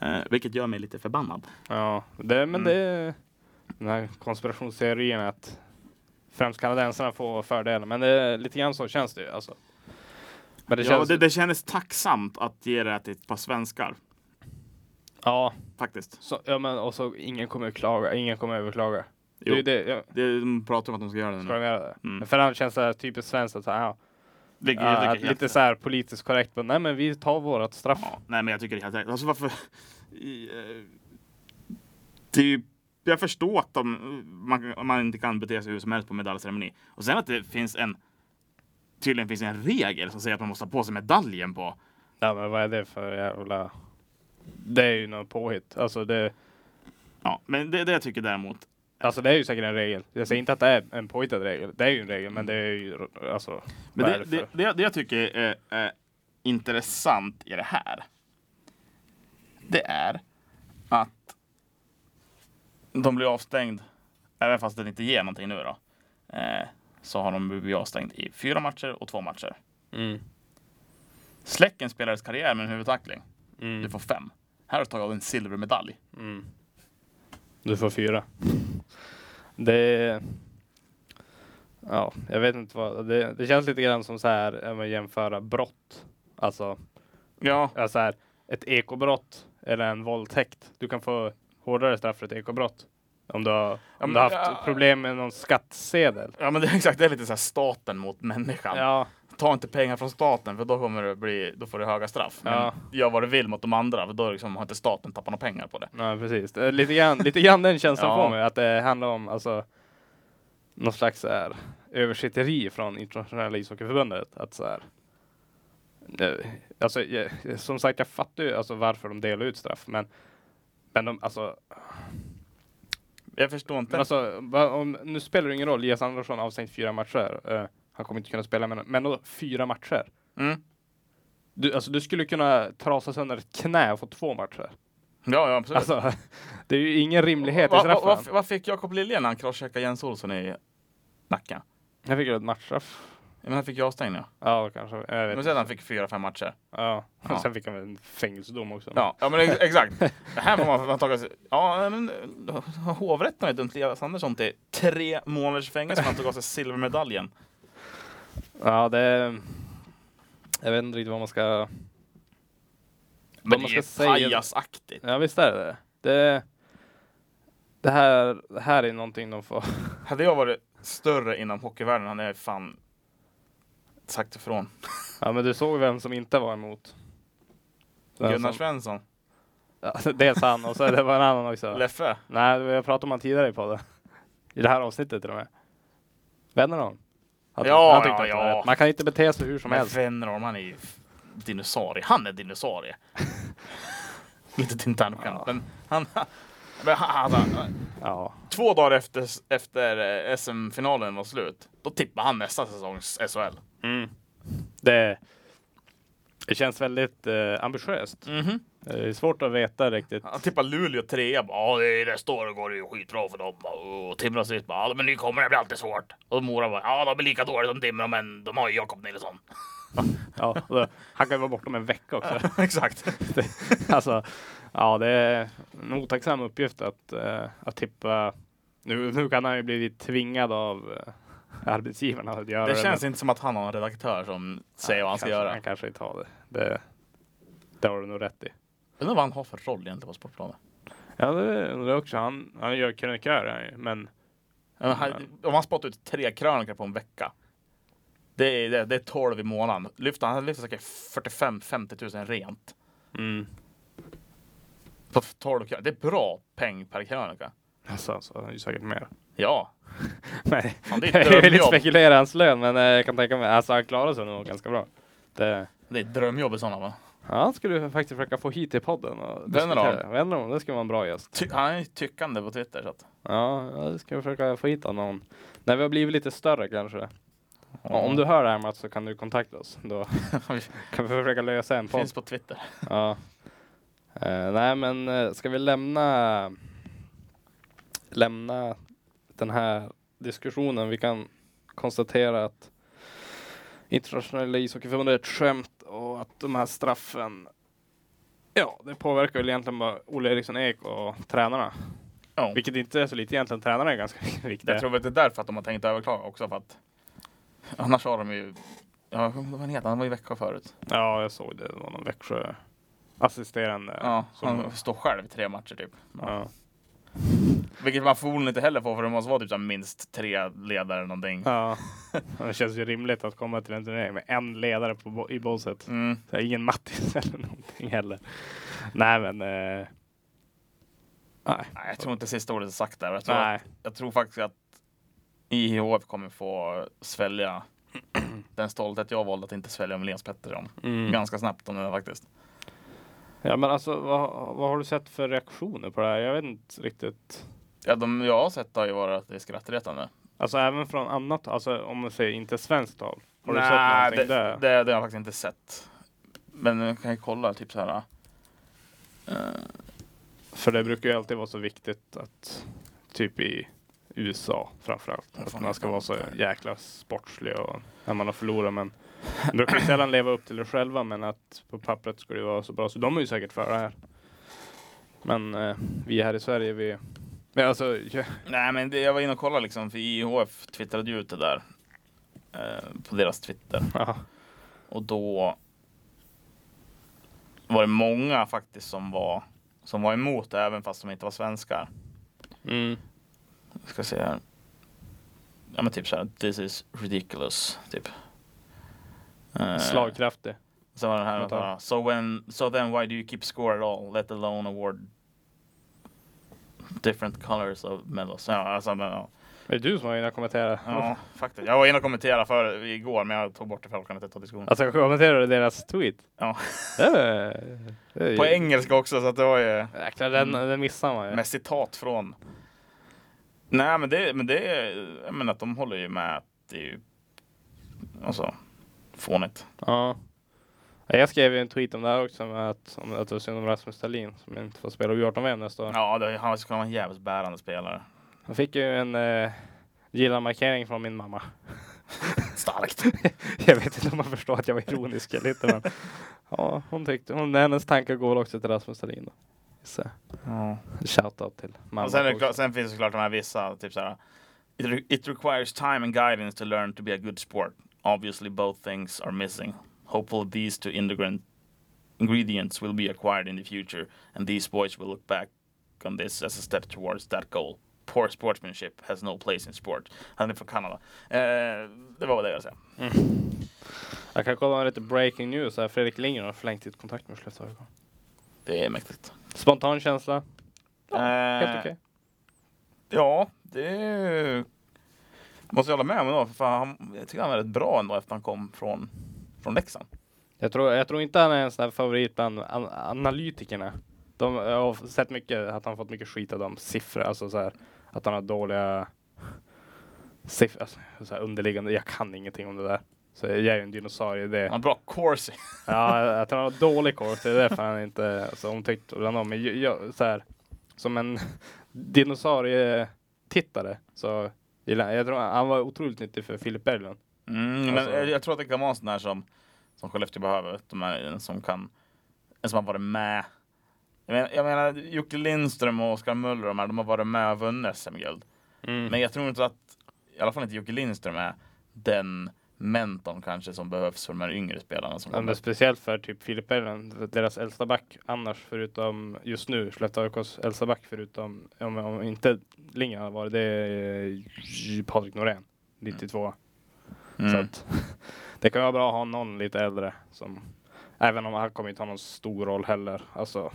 C: Eh, vilket gör mig lite förbannad.
D: Ja, det, men
C: Mm.
D: det den här konspirationsteorin att främst kanadensarna får fördelen, men det är lite grann så känns det ju alltså. Men det
C: ja,
D: känns,
C: det, det kändes tacksamt att ge det här till ett par svenskar.
D: ja,
C: Faktiskt.
D: så, ja men och så ingen kommer klaga, ingen kommer överklaga. Det, är ju
C: Jo,
D: det, ja,
C: det, de pratar om att de ska göra det
D: ska de
C: nu.
D: göra det?
C: Mm.
D: För annars känns det här typiskt svenskt att, så här, ja,
C: Vilket jag
D: ja,
C: tycker
D: att
C: är helt
D: lite så här politiskt korrekt, men nej men vi tar vårat straff.
C: Ja, nej men jag tycker det är helt rätt. Alltså varför... I, eh, det är ju, jag förstår att de, man, man inte kan bete sig hur som helst på medaljceremoni. Och sen att det finns en... Tydligen finns en regel som säger att man måste ha på sig medaljen på.
D: Nej men vad är det för jävla... Det är ju något påhitt. Alltså det,
C: Ja, men det, det jag tycker däremot.
D: alltså det är ju säkert en regel. Jag säger inte att det är en påhittad regel. Det är ju en regel, men det är ju alltså...
C: Men
D: vad är
C: det,
D: för-
C: det, det, det jag tycker är, är intressant i det här. Det är att de blir avstängd. Även fast den inte ger någonting nu då. Eh, så har de blivit avstängd i fyra matcher och två matcher.
D: Mm.
C: Släck en spelares karriär med en huvudtackling.
D: Mm.
C: Du får fem. Här har du tagit av en silvermedalj.
D: Mm. Du får fyra. Det... Ja, jag vet inte vad... Det, det känns lite grann som så här, ja, men jämföra brott. Alltså,
C: Ja.
D: ja, så här, ett ekobrott eller en våldtäkt. Du kan få hårdare straff för ett ekobrott. Om du har, om
C: men-
D: du har haft
C: ja.
D: problem med någon skattsedel.
C: Ja men det är exakt, det är lite så här staten mot människan.
D: Ja,
C: Ta inte pengar från staten för då kommer det bli, då får du höga straff. Men
D: Ja.
C: gör vad du vill mot de andra för då liksom har inte staten tappat några pengar på det.
D: nej, precis. Det är Lite grann, lite grann den känslan
C: Ja.
D: får mig. Att det handlar om alltså, någon slags så här, översitteri från internationella ishockeyförbundet. Att, så här, eh, alltså, jag, som sagt, jag fattar ju alltså, varför de delar ut straff. Men, men de, alltså,
C: Jag förstår inte.
D: Men alltså, va, om, nu spelar det ingen roll. Jes Andersson har avstängt fyra matcher. Eh, han kommer inte kunna spela, men, men då, fyra matcher.
C: Mm.
D: Du, alltså, du skulle kunna trasa sönder ett knä och få två matcher.
C: Ja, ja absolut.
D: Alltså, det är ju ingen rimlighet i
C: Vad-
D: straffen.
C: vad- vad- Vad fick Jakob Lilja när han crosscheckade Jens Olsson i Nacka?
D: jag fick ju ett matchstraff.
C: Ja, Men han fick ju avstängning. ja.
D: Ja, kanske. Jag vet.
C: Men sedan han fick fyra, fem matcher.
D: ja.
C: Ja.
D: Sen fick han väl en fängelsedom också.
C: Ja, ja men ex- exakt. Det här får man, man ta sig. Ja, men eh, hovrätten har ju dömt Elias Andersson till tre månaders fängelse för han tog av sig silvermedaljen.
D: ja, det... Jag vet inte riktigt vad man ska...
C: Men
D: man
C: det är
D: ska säga-
C: pajasaktigt.
D: Ja, visst är det det. Det, det, här, det här är någonting de får...
C: Hade jag varit större inom hockeyvärlden hade jag fan sagt ifrån.
D: Ja, men du såg vem som inte var emot. Den
C: Gunnar
D: som-
C: Svensson,
D: Ja, dels han och så det var en annan också.
C: Leffe.
D: Nej, jag pratade om han tidigare i podden. I det här avsnittet till och med. Vännen om. Han,
C: Ja,
D: han tyckte
C: ja,
D: att det var
C: ja.
D: rätt. Man kan inte bete sig hur som
C: Men
D: helst.
C: Wennerholm, han är ju dinosaurie. Han är dinosaurie. Lite internskämt.
D: Ja.
C: Men han... Men han, han
D: Ja,
C: två dagar efter, efter eh, SM-finalen var slut, då tippar han nästa säsongs SHL. Mm.
D: det, det känns väldigt eh, ambitiöst.
C: Mhm.
D: Det är svårt att veta riktigt.
C: Han tippar Luleå trea. Bara, Ja, det är nästa år går det ju skitbra för dem. Och Timrå sitt bara, ja, men nu kommer det bli alltid svårt. Och Mora bara, ja, de är lika dåliga som Timrå, men de har ju Jakob Nilsson.
D: Ja, och då, han kan ju vara borta om en vecka också.
C: Exakt.
D: alltså, ja, det är en otacksam uppgift att, eh, att tippa. Nu, nu kan han ju bli tvingad av eh, arbetsgivarna att göra det.
C: Det
D: men-
C: känns inte som att han har en redaktör som säger vad han ska
D: kanske,
C: göra.
D: Han kanske inte har det. det. Det har du nog rätt i.
C: Undrar vad han har för roll egentligen på sportplanen.
D: Ja, det undrar jag också. Han, han gör krönikör, han ju, men
C: Men han- Om han spottar ut tre krönikor på en vecka. Det är, det, det är 12 i månaden. Lyfter, han lyfter säkert 45-50 tusen rent.
D: mm,
C: På 12 krönikor. Det är bra peng per krönika.
D: alltså, så han är ju säkert mer.
C: Ja.
D: Nej,
C: Fan, det är ett
D: jag vill inte
C: drömjobb.
D: spekulera i hans lön, men eh, jag kan tänka mig, alltså han klarar sig nog ganska bra. Det,
C: Det är ett drömjobb i sådana fall.
D: Ja, han skulle ju faktiskt försöka få hit i podden. Och diskutera.
C: Wennerholm.
D: Wennerholm, det skulle vara en bra gäst.
C: Ty- han är tyckande på Twitter. Så att,
D: Ja, ja, det ska vi försöka få hit någon. När vi har blivit lite större kanske. Ja, om du hör det här Mats så kan du kontakta oss. Då kan vi försöka lösa en podd.
C: finns på Twitter.
D: Ja. Eh, nej men eh, ska vi lämna lämna den här diskussionen. Vi kan konstatera att internationella ishockeyförbundet är ett skämt och att de här straffen Ja, det påverkar väl egentligen bara Olle Eriksson Ek och tränarna.
C: Ja.
D: Vilket inte är så lite egentligen. Tränarna är ganska viktiga.
C: Jag tror att det är därför att de har tänkt överklaga också. För att, annars har de ju... Ja, jag kommer inte ihåg vad han heter. Han var i Växjö förut.
D: Ja, jag såg det. Det var någon Växjö assisterande.
C: Ja,
D: som,
C: han står själv i tre matcher typ.
D: ja.
C: Vilket man förmodligen inte heller får för det måste vara typ så här minst tre ledare eller någonting.
D: ja. Det känns ju rimligt att komma till en turnering med en ledare på, bo- i båset.
C: Mm.
D: Så här, ingen Mattis eller någonting heller. Nej, men... Eh, nej.
C: Nej, jag tror inte sista ordet är sagt där. Jag tror, att,
D: Nej.
C: jag tror faktiskt att IHF kommer få svälja den stolthet jag valde att inte svälja med Lens Pettersson.
D: Mm.
C: Ganska snabbt om det faktiskt.
D: Ja, men alltså, vad, vad har du sett för reaktioner på det här? Jag vet inte riktigt.
C: Ja, de jag har sett har ju varit att det är skrattretande.
D: Alltså, även från annat, alltså om man säger inte svenskt håll. Har du
C: Nej,
D: sett någonting
C: det,
D: där?
C: Det, det har jag faktiskt inte sett. Men jag kan ju kolla typ så här. eh,
D: För det brukar ju alltid vara så viktigt att typ i USA framförallt att man ska vara så jäkla sportslig och när man har förlorat men de brukar ju sällan leva upp till det själva men att på pappret ska det ju vara så bra så de är ju säkert för det här. Men eh, vi här i Sverige vi men alltså, ja,
C: nej, men det, jag var inne och kollade liksom för IHF twittrade ju ut det där eh, på deras Twitter.
D: ja,
C: Och då var det många faktiskt som var, som var emot det, även fast de inte var svenskar.
D: mm,
C: Jag ska se här. Ja men typ så här, this is ridiculous, typ. Eh,
D: slagkraftig.
C: Sen var det här,
D: Vänta.
C: bara, so, when, so then why do you keep score at all, let alone award different colors of medals. Ja, alltså, men, ja.
D: Är det du som har innan kommenterat?
C: ja faktiskt. Jag var inne och kommenterade för igår, men jag tog bort det för jag orkade inte ta diskussion.
D: Alltså jag kommenterade deras tweet.
C: Ja.
D: Det är, det är ju-
C: På engelska också, så att det var ju...
D: Jäklar, den, den missar man ju.
C: Med citat från. Nej, men det, men det jag menar att de håller ju med att det är ju alltså, fånigt.
D: Ja. Ja, Jag skrev ju en tweet om det här också, med att, om att det var synd om Rasmus Stalin som inte får spela U18-VM nästa år.
C: Ja, det, han ska vara en jävligt bärande spelare.
D: Han fick ju en eh, gilla-markering från min mamma.
C: Starkt.
D: Jag vet inte om man förstår att jag var ironisk eller inte, men ja, hon tyckte, hon, hennes tankar går också till Rasmus Stalin. Då. Så,
C: Ja.
D: shoutout till mamma.
C: Och sen, är det
D: också.
C: klart, sen finns det såklart de här vissa, typ såhär. It, re- it requires time and guidance to learn to be a good sport. Obviously both things are missing. Hopefully these two ingredient, ingredients will be acquired in the future and these boys will look back on this as a step towards that goal. Poor sportsmanship has no place in sport. Han är från Kanada. Eh, det var vad det jag sa.
D: Jag kan kolla med lite breaking news här. Fredrik Lindgren har förlängt sitt kontrakt med Skellefteå AIK.
C: Det är mäktigt.
D: Spontan känsla, helt
C: Eh,
D: okej.
C: Ja, det är- måste jag hålla med om då. För fan, han, jag tycker han var rätt bra ändå efter han kom från, från Leksand.
D: Jag tror, jag tror inte han är en sån här favorit bland an analytikerna. De, jag har sett mycket, att han fått mycket skit av de siffror, alltså så här, att han har dåliga siffror, alltså, så här underliggande. Jag kan ingenting om det där. Så jag är ju en dinosaurie i
C: Han har
D: det.
C: bra corsi.
D: Ja, att han har dålig koll, så det är därför han är inte så omtyckt bland dem. Men jag, jag, så här, som en dinosaurietittare så gillar jag, jag tror han, han var otroligt nyttig för Filip Berglund.
C: Mm, men
D: Alltså-
C: jag, jag tror att det kan vara en sån här som, som Skellefteå behöver. vet du, De här, en som kan, en som har varit med. Jag menar, jag menar Jocke Lindström och Oskar Möller de, här, de har varit med och vunnit SM-guld.
D: Mm.
C: Men jag tror inte att, i alla fall inte Jocke Lindström är den mentorn kanske som behövs för de här yngre spelarna. Som
D: Ja,
C: kommer.
D: men speciellt för typ Filip Berglund, deras äldsta back annars förutom just nu, Skellefteå AIKs äldsta back förutom, om, om inte Lindgren hade varit det, är eh, Patrik Norén, 92. Så
C: mm.
D: att, det kan vara bra att ha någon lite äldre som, även om han kommer inte ha någon stor roll heller. Alltså,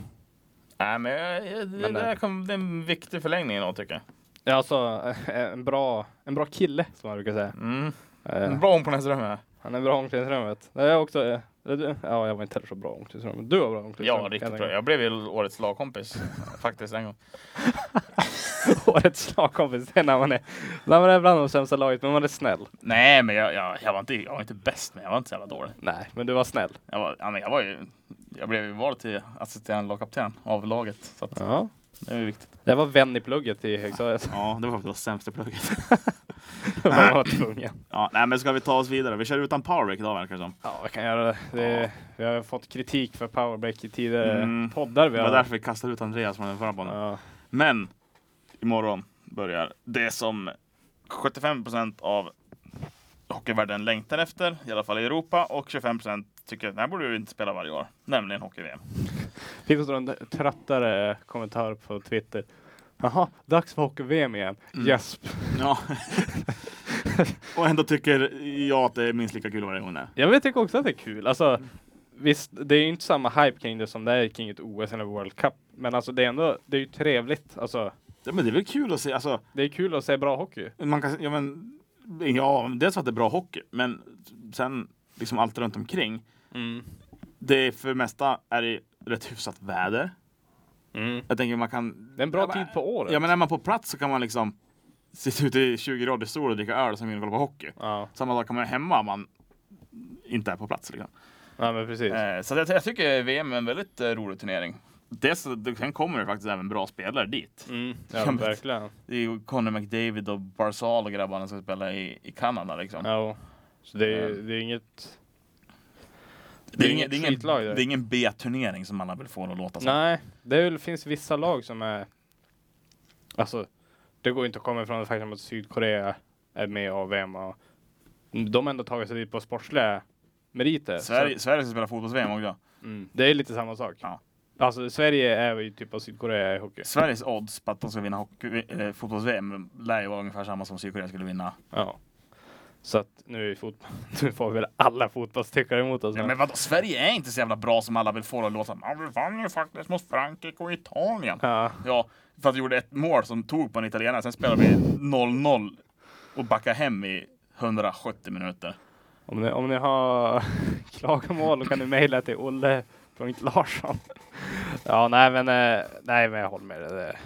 C: Nej, men jag, jag, det,
D: Men det-
C: där kom, det är en viktig förlängning då tycker jag.
D: ja, alltså en bra, en bra kille som man brukar säga.
C: Mm.
D: Eh,
C: Bra om på nästa dröm.
D: Han är bra i omklädningsrummet. Det är också eh, Du- Ja, jag var inte heller så bra omklädningsrum. men Du var bra omklädningsrum.
C: Ja, riktigt
D: kan jag
C: bra.
D: tänka
C: Jag blev ju årets lagkompis faktiskt en gång.
D: mig. Årets lagkompis, det är när man är, när man är bland de sämsta laget, men man är snäll.
C: Nej, men jag, jag, jag, var inte, jag var inte bäst, men jag var inte så jävla dålig.
D: Nej, men du var snäll.
C: Jag, var, ja, men jag, var ju, jag blev ju vald till assisterande lagkapten av laget. Så att
D: Ja.
C: det är ju viktigt.
D: Jag var vän i plugget i högstadiet.
C: Ja, det var faktiskt sämsta plugget.
D: man var tvungen.
C: Ja, nej, men ska vi ta oss vidare? Vi kör utan powerbreak idag verkar det som.
D: Ja, vi kan göra det. det vi har fått kritik för powerbreak i tidigare
C: Mm.
D: poddar. Vi
C: Det var
D: har.
C: därför vi kastade ut Andreas från den förra banan.
D: Ja.
C: Men imorgon börjar det som 75 av hockeyvärlden längtar efter, i alla fall i Europa, och 25 tycker att den här borde vi inte spela varje år, nämligen hockey-VM.
D: Fick också en tröttare kommentar på Twitter. Jaha, dags för hockey-VM igen.
C: Mm.
D: Jasp.
C: Ja. och ändå tycker jag att det är minst lika kul varje gång det är.
D: Jag vet tycker också att det är kul. Alltså, visst, det är ju inte samma hype kring det som det är kring ett OS eller World Cup. Men alltså det är ändå, det är ju trevligt. Alltså,
C: Ja, men det är väl kul att se, alltså,
D: det är kul att se bra hockey.
C: man kan, ja men, ja, dels att det är bra hockey, men sen liksom allt runt omkring. Mm. Det är för det mesta är det rätt hyfsat väder. Jag tänker man kan
D: Mm. Det är en bra
C: Ja, men-
D: tid på året.
C: Ja men är man på plats så kan man liksom sitta ute i 20 grader sol och dricka öl som vill kolla på hockey.
D: Ja,
C: Samma dag kan man ju hemma om man inte är på plats. Liksom.
D: ja, men precis.
C: Eh, så att jag, jag tycker VM är en väldigt eh, rolig turnering. Dels, sen kommer det faktiskt även bra spelare dit.
D: Mm.
C: Ja,
D: Ja,
C: men-
D: verkligen.
C: Det är ju Connor McDavid och Barzal och grabbarna som spelar i, i Kanada. Liksom.
D: Ja. och- Så det är, det är inget...
C: det, är
D: inget
C: ingen, det, är ingen,
D: skitlag
C: det
D: där.
C: är ingen B-turnering som alla vill få det att låta som.
D: Nej, det är väl, finns vissa lag som är... Alltså, det går ju inte att komma ifrån det faktum att Sydkorea är med i AVM och de har ändå tagit sig dit på sportsliga meriter. Så-
C: Sverige, Sverige ska spela fotbolls-VM också.
D: Mm. Det är lite samma sak.
C: Ja.
D: Alltså Sverige är ju typ av Sydkorea i hockey.
C: Sveriges odds på att de ska vinna hockey- eh, fotbolls-VM lär ju vara ungefär samma som Sydkorea skulle vinna
D: Ja. Så att nu, är fotboll, nu får vi väl alla fotbollstyckare emot oss.
C: Ja,
D: nu.
C: men vadå, Sverige är inte så jävla bra som alla vill få det att låta. Ja, vi vann ju faktiskt mot Frankrike och Italien.
D: ja.
C: Ja, för att vi gjorde ett mål som tog på en italienare, sen spelade vi 0-0 och backade hem i 170 minuter.
D: om, ni, om ni har klagomål då kan ni mejla till olle.larsson. ja, nej men, eh, nej men jag håller med dig. Det,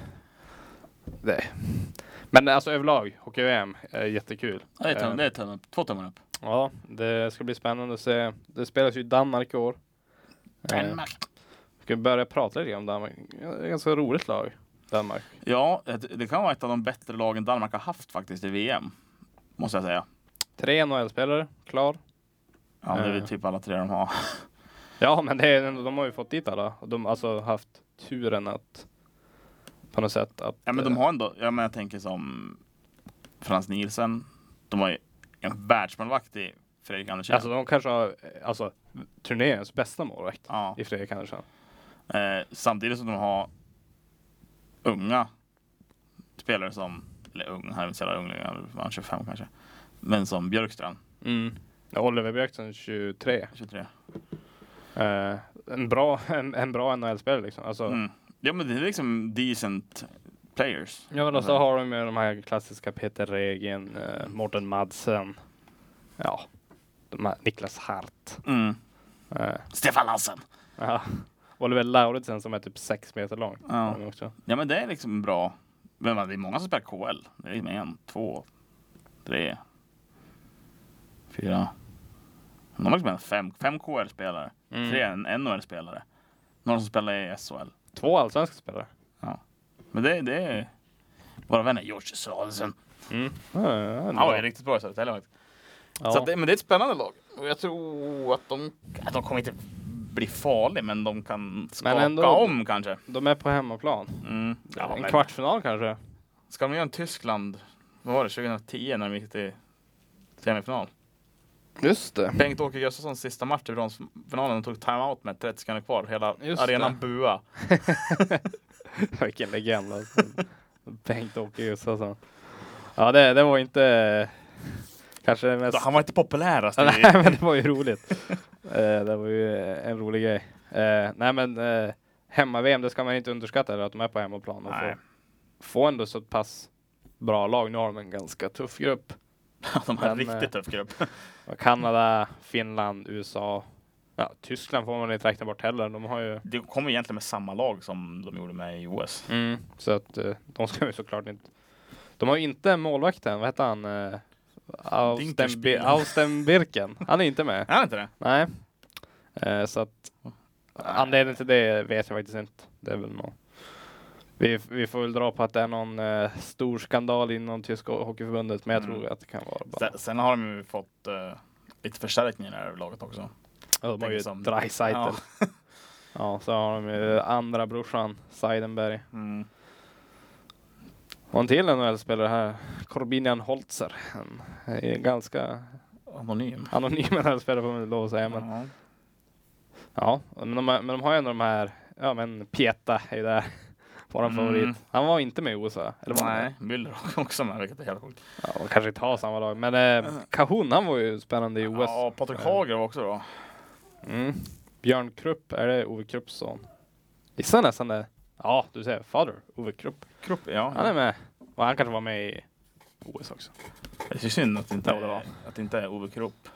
D: det. Men alltså överlag, hockey-VM är jättekul.
C: Ja, Det är,
D: Eh,
C: tum, det är tum, två tummar upp.
D: Ja, det ska bli spännande att se. Det spelas ju i Danmark i år. Eh, Ska vi börja prata lite om Danmark? Ja, Det är ett ganska roligt lag, Danmark.
C: Ja, det- det kan vara ett av de bättre lagen Danmark har haft faktiskt i VM. Måste jag säga.
D: Tre NHL-spelare, klar.
C: Ja, det är väl
D: Eh.
C: typ alla tre de har.
D: Ja, men det är, ändå- de har ju fått dit alla. Och De har alltså haft turen att på något sätt att... eh,
C: Ja, men de har ändå, ja, men jag tänker som Frans Nielsen. De har ju en världsmålvakt i Fredrik
D: eh,
C: Andersson.
D: Alltså de kanske har eh, alltså, turneringens bästa målvakt
C: ja.
D: i Fredrik Andersson.
C: Eh, samtidigt som de har unga spelare som, eller ung, han är väl inte så jävla ung längre, han är väl 25 kanske. Men som Björkstrand, Mm.
D: Ja, Oliver Björkström 23.
C: 23.
D: Eh, en bra, en, en bra NHL-spelare liksom. Alltså,
C: Mm. Ja men det är liksom decent players.
D: Ja men så har de ju de här klassiska Peter Regen, eh, Morten Madsen, ja, de här Niklas Hart.
C: Mm.
D: Eh,
C: Stefan Lassen!
D: ja. Oliver Lauritsen som är typ sex meter lång.
C: Ja.
D: har de Också.
C: Ja men det är liksom bra. Men det är många som spelar KL. Det är liksom en, två, tre, fyra. De har liksom en fem, fem KL-spelare,
D: Mm.
C: tre NHL-spelare. Några som spelar i SHL.
D: Två allsvenska spelare.
C: Men det, det är våra vänner George Södersen.
D: Ja, ja, ja, det är
C: Han var
D: bra.
C: ju riktigt bra i Södertälje faktiskt.
D: Ja.
C: Så att det, men det är ett spännande lag. Och jag tror att de, att de kommer inte bli farliga, men de kan skaka
D: ändå-
C: om kanske.
D: De är på hemmaplan.
C: Mm. Ja,
D: en
C: men
D: kvartsfinal kanske.
C: Ska de göra en Tyskland, vad var det, 2010 när de gick till semifinal?
D: Just det.
C: Bengt-Åke Gustafssons sista match i bronsfinalen, de tog timeout med 30 sekunder kvar. Hela
D: Just
C: arenan
D: det.
C: bua.
D: Vilken legend alltså. Bengt-Åke Gustafsson. Ja det, det var inte eh, kanske det mest
C: Han var inte populärast.
D: Ja,
C: i-
D: Nej men det var ju roligt. Eh, det var ju eh, en rolig grej. Eh, nej men eh, hemma-VM, det ska man inte underskatta eller att de är på hemmaplan och
C: Nej.
D: får, får ändå så pass bra lag. Nu har de en ganska tuff grupp.
C: De har en
D: Men, eh,
C: riktigt tuff grupp.
D: Och Kanada, Finland, USA, Ja, Tyskland får man inte räkna bort heller. De har ju...
C: Det kommer egentligen med samma lag som de gjorde med i OS.
D: Så att eh, de ska ju såklart inte... De har ju inte målvakten, vad heter han? Eh, Austenbi-
C: Dinkelspiel.
D: Austenbirken. Han är inte med.
C: Är det inte det?
D: Nej. Eh, så att anledningen till det vet jag faktiskt inte. Det är väl någon. Vi, vi får väl dra på att det är någon eh, stor skandal inom tyska hockeyförbundet, men jag
C: Mm.
D: tror att det kan vara bara...
C: Sen, sen har de ju fått eh, lite förstärkningar i det här laget också.
D: Ja, De har ju
C: tänker som-
D: Dreisaitl. Ja.
C: Ja.
D: så har de ju andra brorsan, Seidenberg.
C: Mm.
D: Och en till NHL-spelare här, Corbinian Holzer. Han är ganska
C: Anonym.
D: anonym NHL-spelare får man väl lov att säga, men
C: Ja.
D: Ja, men de, men de har ju ändå de här, ja men Pieta är ju där. Våran
C: Mm.
D: favorit. Han var inte med i USA. Eller var han
C: Nej, Müller var också med, vilket är helt sjukt.
D: det? Ja, de kanske inte har samma lag. Men eh, Cahoon, han var ju spännande i OS.
C: Mm. Ja, Patrik Hager var också bra.
D: Mm. Björn Krupp, är det Ove Krupps son? Gissar nästan det. Ja, du säger father, Ove Krupp.
C: Krupp, ja.
D: Han är med. Och han kanske var med i OS också.
C: Det är synd att det inte,
D: Ja, det var.
C: att det inte är Ove Krupp.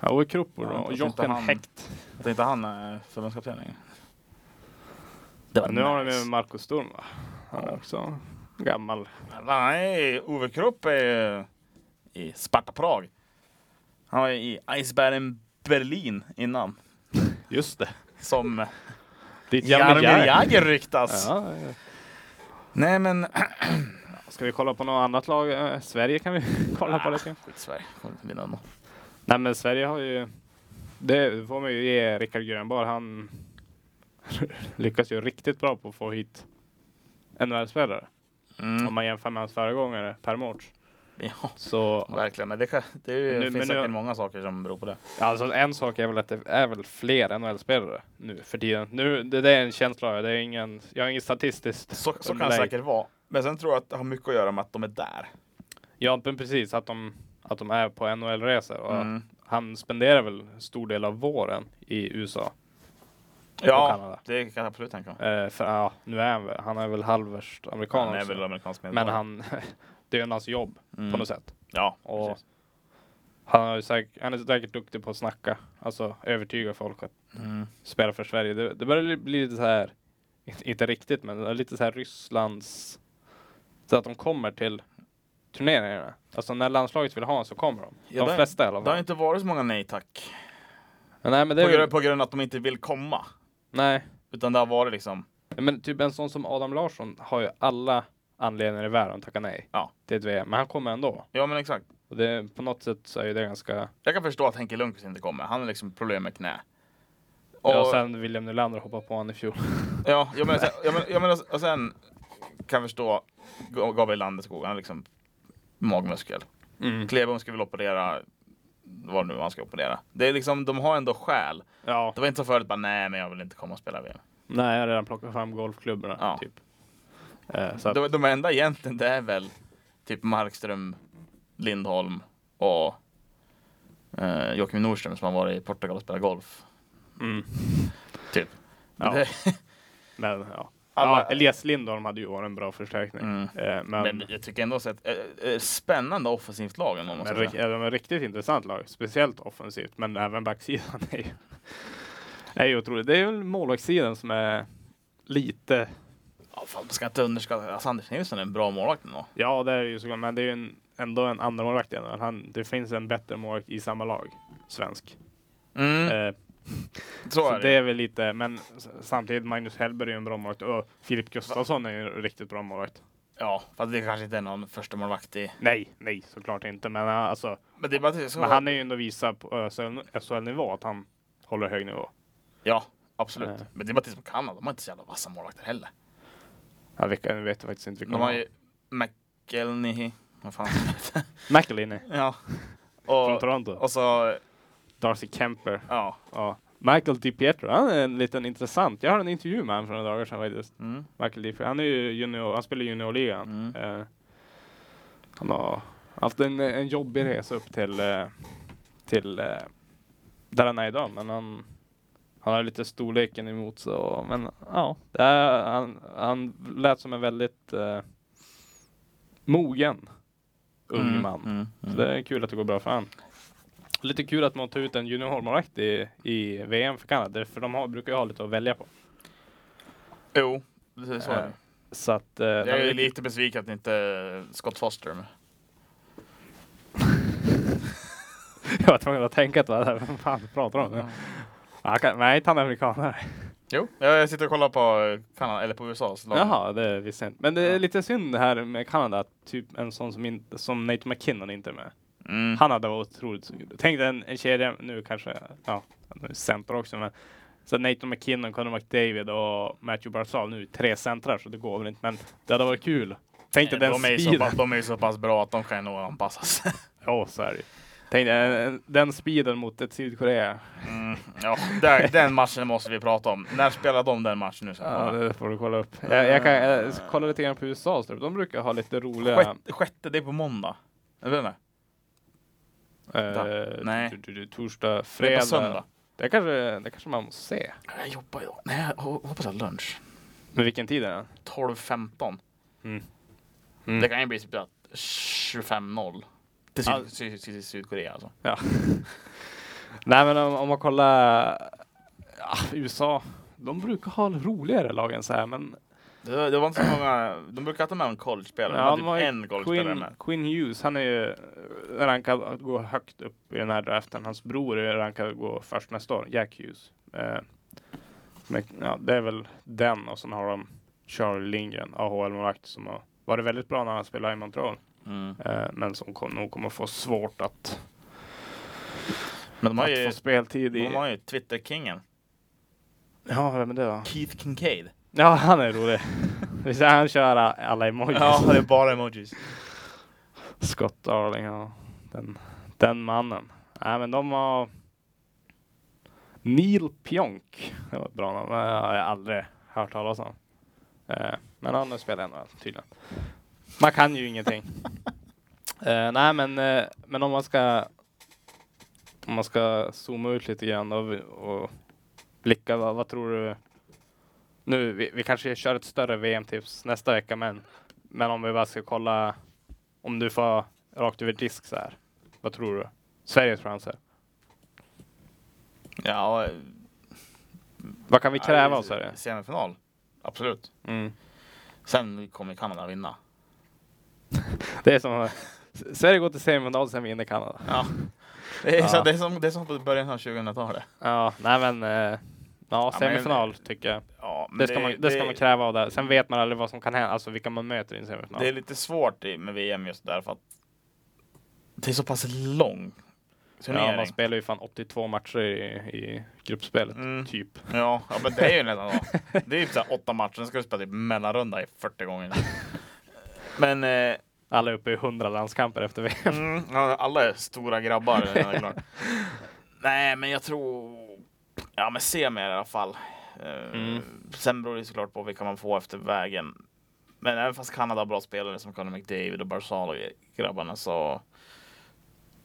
D: Ja, Ove Krupp och
C: Ja,
D: ja,
C: jag tror inte
D: Jochen
C: han-
D: Hekt.
C: Att inte han är förbundskapten längre. Det var
D: Nu har de
C: nice.
D: ju Marcus Sturm va? Han är också gammal.
C: Nej, Ove Krupp är i Sparta Prag. Han var ju i Eisbären Berlin innan.
D: Just det.
C: Som
D: Ditt
C: Jaromir
D: Jaromir Jagr.
C: Jagr ryktas.
D: Ja, ja.
C: Nej men...
D: Ska vi kolla på något annat lag? Eh, Sverige kan vi kolla på lite.
C: Skit Sverige, kommer inte vinna ändå.
D: Nej men Sverige har ju, det får man ju ge Rickard Grönbar, han lyckas ju riktigt bra på att få hit NHL-spelare. Om
C: Mm.
D: man jämför med hans föregångare Per Mårts.
C: Ja,
D: Så
C: verkligen. Men det, kan, det är ju-
D: Nu-
C: finns
D: men nu-
C: säkert många saker som beror på det.
D: alltså en sak är väl att det är väl fler NHL-spelare nu för tiden. Nu, det, det är en känsla, jag- det är ingen, jag har inget statistiskt.
C: Så, så kan det
D: underlag.
C: säkert vara. Men sen tror jag att det har mycket att göra med att de är där.
D: Ja men precis, att de, att de är på NHL-resor. Och
C: Mm.
D: Han spenderar väl stor del av våren i USA. Och
C: Ja,
D: Kanada.
C: det kan jag absolut tänka mig.
D: Eh, för ja, nu är han, väl- han är väl halvvärst amerikan
C: Han är
D: också.
C: väl amerikansk
D: Men
C: medborgare.
D: han, det är ju hans jobb
C: Mm.
D: på något sätt.
C: Ja,
D: Och
C: precis.
D: han, har ju säkert, han är säkert duktig på att snacka, alltså övertyga folk att
C: Mm.
D: spela för Sverige. Det, det börjar bli lite så här, inte, inte riktigt, men lite så här Rysslands, så att de kommer till turneringarna. Alltså när landslaget vill ha en så kommer de.
C: Ja,
D: de
C: det-
D: flesta i alla
C: Det har
D: fall.
C: inte varit så många nej tack.
D: Men Nej men, det
C: På
D: är
C: grund,
D: väl,
C: på grund av att de inte vill komma.
D: nej,
C: Utan det har varit liksom,
D: men typ en sån som Adam Larsson har ju alla anledningar i världen att tacka nej
C: Ja.
D: till ett VM, men han kommer ändå.
C: ja men exakt.
D: Och det, på något sätt så är ju det ganska
C: Jag kan förstå att Henke Lundqvist inte kommer. Han har liksom problem med knä. Och,
D: Ja, sen William Nylander hoppade på honom i fjol.
C: ja, jag menar, sen, jag menar, jag menar, och sen kan jag förstå Ga- Gabriel Landeskog. Han har liksom magmuskel. Klebom ska väl operera vad nu han ska operera. Det är liksom, de har ändå skäl.
D: Ja,
C: Det var inte så förut bara, nej men jag vill inte komma och spela VM.
D: nej, jag har redan plockat fram golfklubborna.
C: Ja.
D: Typ. Eh, så att,
C: De, de enda egentligen det är väl typ Markström, Lindholm och eh, Joakim Nordström som har varit i Portugal och spelat golf.
D: mm.
C: Typ.
D: Ja.
C: Det,
D: Men ja.
C: Alla-
D: ja, Elias Lindholm hade ju varit en bra förstärkning.
C: Mm.
D: Eh, men
C: men jag tycker ändå att eh, eh, spännande offensivt lag. ändå, måste jag
D: men rik-
C: säga.
D: eh, de är riktigt intressant lag, speciellt offensivt, men även backsidan är ju, är ju otroligt. Det är väl målvaktssidan som är lite,
C: Ja, fan, man ska inte underskatta, alltså Anders Nilsson är en bra målvakt ändå.
D: ja det är ju såklart, men det är ju en, ändå en andra målvakt i NHL. Han, Det finns en bättre målvakt i samma lag, svensk.
C: Mm,
D: Eh,
C: så
D: Så
C: är det.
D: det är väl lite, men s- samtidigt Magnus Hellberg är ju en bra målvakt och Filip Gustafsson är ju en riktigt bra målvakt.
C: Ja, fast det kanske inte är någon första målvakt i.
D: Nej, nej såklart inte, men äh, alltså,
C: Men det är bara att det är så.
D: men han är ju ändå visad på SHL-nivå att han håller hög nivå.
C: Ja, absolut.
D: Eh.
C: Men det är bara att det är som Kanada, de har inte så jävla vassa målvakter heller.
D: Ja, vilka, nu vet jag faktiskt inte vilka
C: De har ju McElney, vad fan han heter.
D: McElhinney
C: Ja.
D: från
C: Och,
D: Toronto,
C: och så,
D: Darcy Kemper,
C: ja.
D: ja. Michael DiPietro, han är en liten intressant. Jag har en intervju med honom för några dagar sedan faktiskt.
C: Mm.
D: Michael DiPietro, han är ju junior, han spelar i juniorligan.
C: Mm.
D: Eh, han har haft en, en jobbig resa upp till, eh, till eh, där han är idag, men han, han har lite storleken emot sig. Och, men ja, det är, han, han lät som en väldigt eh, mogen ung man.
C: Mm.
D: Så det är kul att det går bra för han. Lite kul att man tar ut en juniormålvakt i, i VM för Kanada, för de har, brukar ju ha lite att välja på.
C: Jo, det- så är det.
D: Så att... eh, de
C: Jag är
D: ligger-
C: lite besviken att det inte är Scott Foster är med.
D: jag var tvungen att tänka att vad det här- vad fan pratar de om? nu? Han kan, nej, inte han är amerikanare.
C: Jo, jag sitter och kollar på eh, Kanada, eller på USAs lag.
D: Jaha, det visste jag inte. Men det är
C: Ja.
D: lite synd det här med Kanada, att typ en sån som, inte, som Nate McKinnon inte är med.
C: Mm.
D: Han hade varit otroligt sugen. Tänk dig en, en kedja, nu kanske, ja, nu är center också, men så Nathan McKinnon, Connor McDavid och Matthew Barzal, nu är det tre centrar så det går väl inte, men det hade varit kul. Tänk dig den
C: de, är ju så
D: speeden.
C: pass, de är ju så pass bra att de kan nog anpassas.
D: Ja, så är det ju. Tänk dig en- en- den speeden mot ett Sydkorea.
C: Mm, ja, där, den matchen måste vi prata om. När spelar de den matchen nu?
D: Ja,
C: Ja,
D: det får du kolla upp. Jag, jag kan jag ska kolla lite grann på USA, så de brukar ha lite roliga...
C: sjätte, sjätte, det är på måndag. Är det det?
D: Eh,
C: Nej.
D: du- du- du- Torsdag,
C: Det är
D: fredag.
C: på söndag.
D: Det kanske, det kanske man måste se.
C: Jag jobbar idag. Nej, jag ho- hoppas jag har lunch.
D: Men vilken tid är den?
C: 12.15.
D: Mm. Mm.
C: Det kan ju bli typ att 25-0. Till Syd-
D: Ja.
C: Syd- Syd- Sydkorea alltså.
D: Ja. Nej men om, om man kollar ja, USA. De brukar ha roligare lag än så här men
C: Det, det var inte så många, de brukar alltid ha med en college-spelare.
D: Ja,
C: de har
D: de har
C: typ
D: ju
C: en college-spelare
D: Quinn,
C: med.
D: Quinn Hughes han är ju eh, rankad att gå högt upp i den här draften. Hans bror är rankad att gå först nästa år, Jack Hughes. Eh, men, ja, det är väl den och sen har de Charlie Lindgren, AHL-målvakt som har varit väldigt bra när han spelade i Montreal.
C: Mm.
D: Eh, men som kom, nog kommer få svårt att,
C: Men de har
D: att
C: ju,
D: få speltid i...
C: de har ju Twitter-kingen.
D: Ja, vem är det då?
C: Keith Kincaid.
D: Ja, han är rolig. Visst, han kör alla emojis.
C: Ja, det är bara emojis.
D: Scott Darling, ja. Den, den mannen. Nej, men de har... Neil Pionk. Det var ett bra namn. Det har jag aldrig hört talas om. Eh, Men han spelar ändå tydligen. Man kan ju ingenting. Eh, nej, men, eh, men om man ska om man ska zooma ut lite grann och, och blicka, vad, vad tror du? Nu, vi, vi kanske kör ett större VM-tips nästa vecka, men, men om vi bara ska kolla om du får rakt över disk så här. Vad tror du? Sveriges chanser?
C: Ja, eh,
D: Vad kan vi kräva
C: ja,
D: av Sverige?
C: Semifinal. Absolut.
D: Mm.
C: Sen kommer Kanada vinna.
D: Det är som S- Sverige går till semifinal sen vinner Kanada.
C: Ja. Det är, Så,
D: Ja.
C: det är, som, det är som på början av 2000-talet.
D: Ja, nej men eh, ja,
C: men-
D: semifinal tycker jag.
C: Ja, men
D: Det ska, man, det ska man kräva av det. Sen vet man aldrig vad som kan hända, alltså vilka man möter i en semifinal.
C: Det är lite svårt i- med VM just därför att det är så pass lång
D: ja, man
C: turnering.
D: spelar ju fan 82 matcher i, i gruppspelet,
C: Mm.
D: typ.
C: Ja, ja, men det är ju nästan så. Det är ju typ så här åtta matcher, sen ska du spela typ mellanrunda i 40 gånger. Men eh,
D: Alla är uppe i 100 landskamper efter VM.
C: mm, ja, alla är stora grabbar. det är klart. Nej, men jag tror... Ja, men semi i alla fall. Eh,
D: Mm.
C: Sen beror det ju såklart på vilka man får efter vägen. Men även fast Kanada har bra spelare som Conor McDavid och Barzal och grabbarna så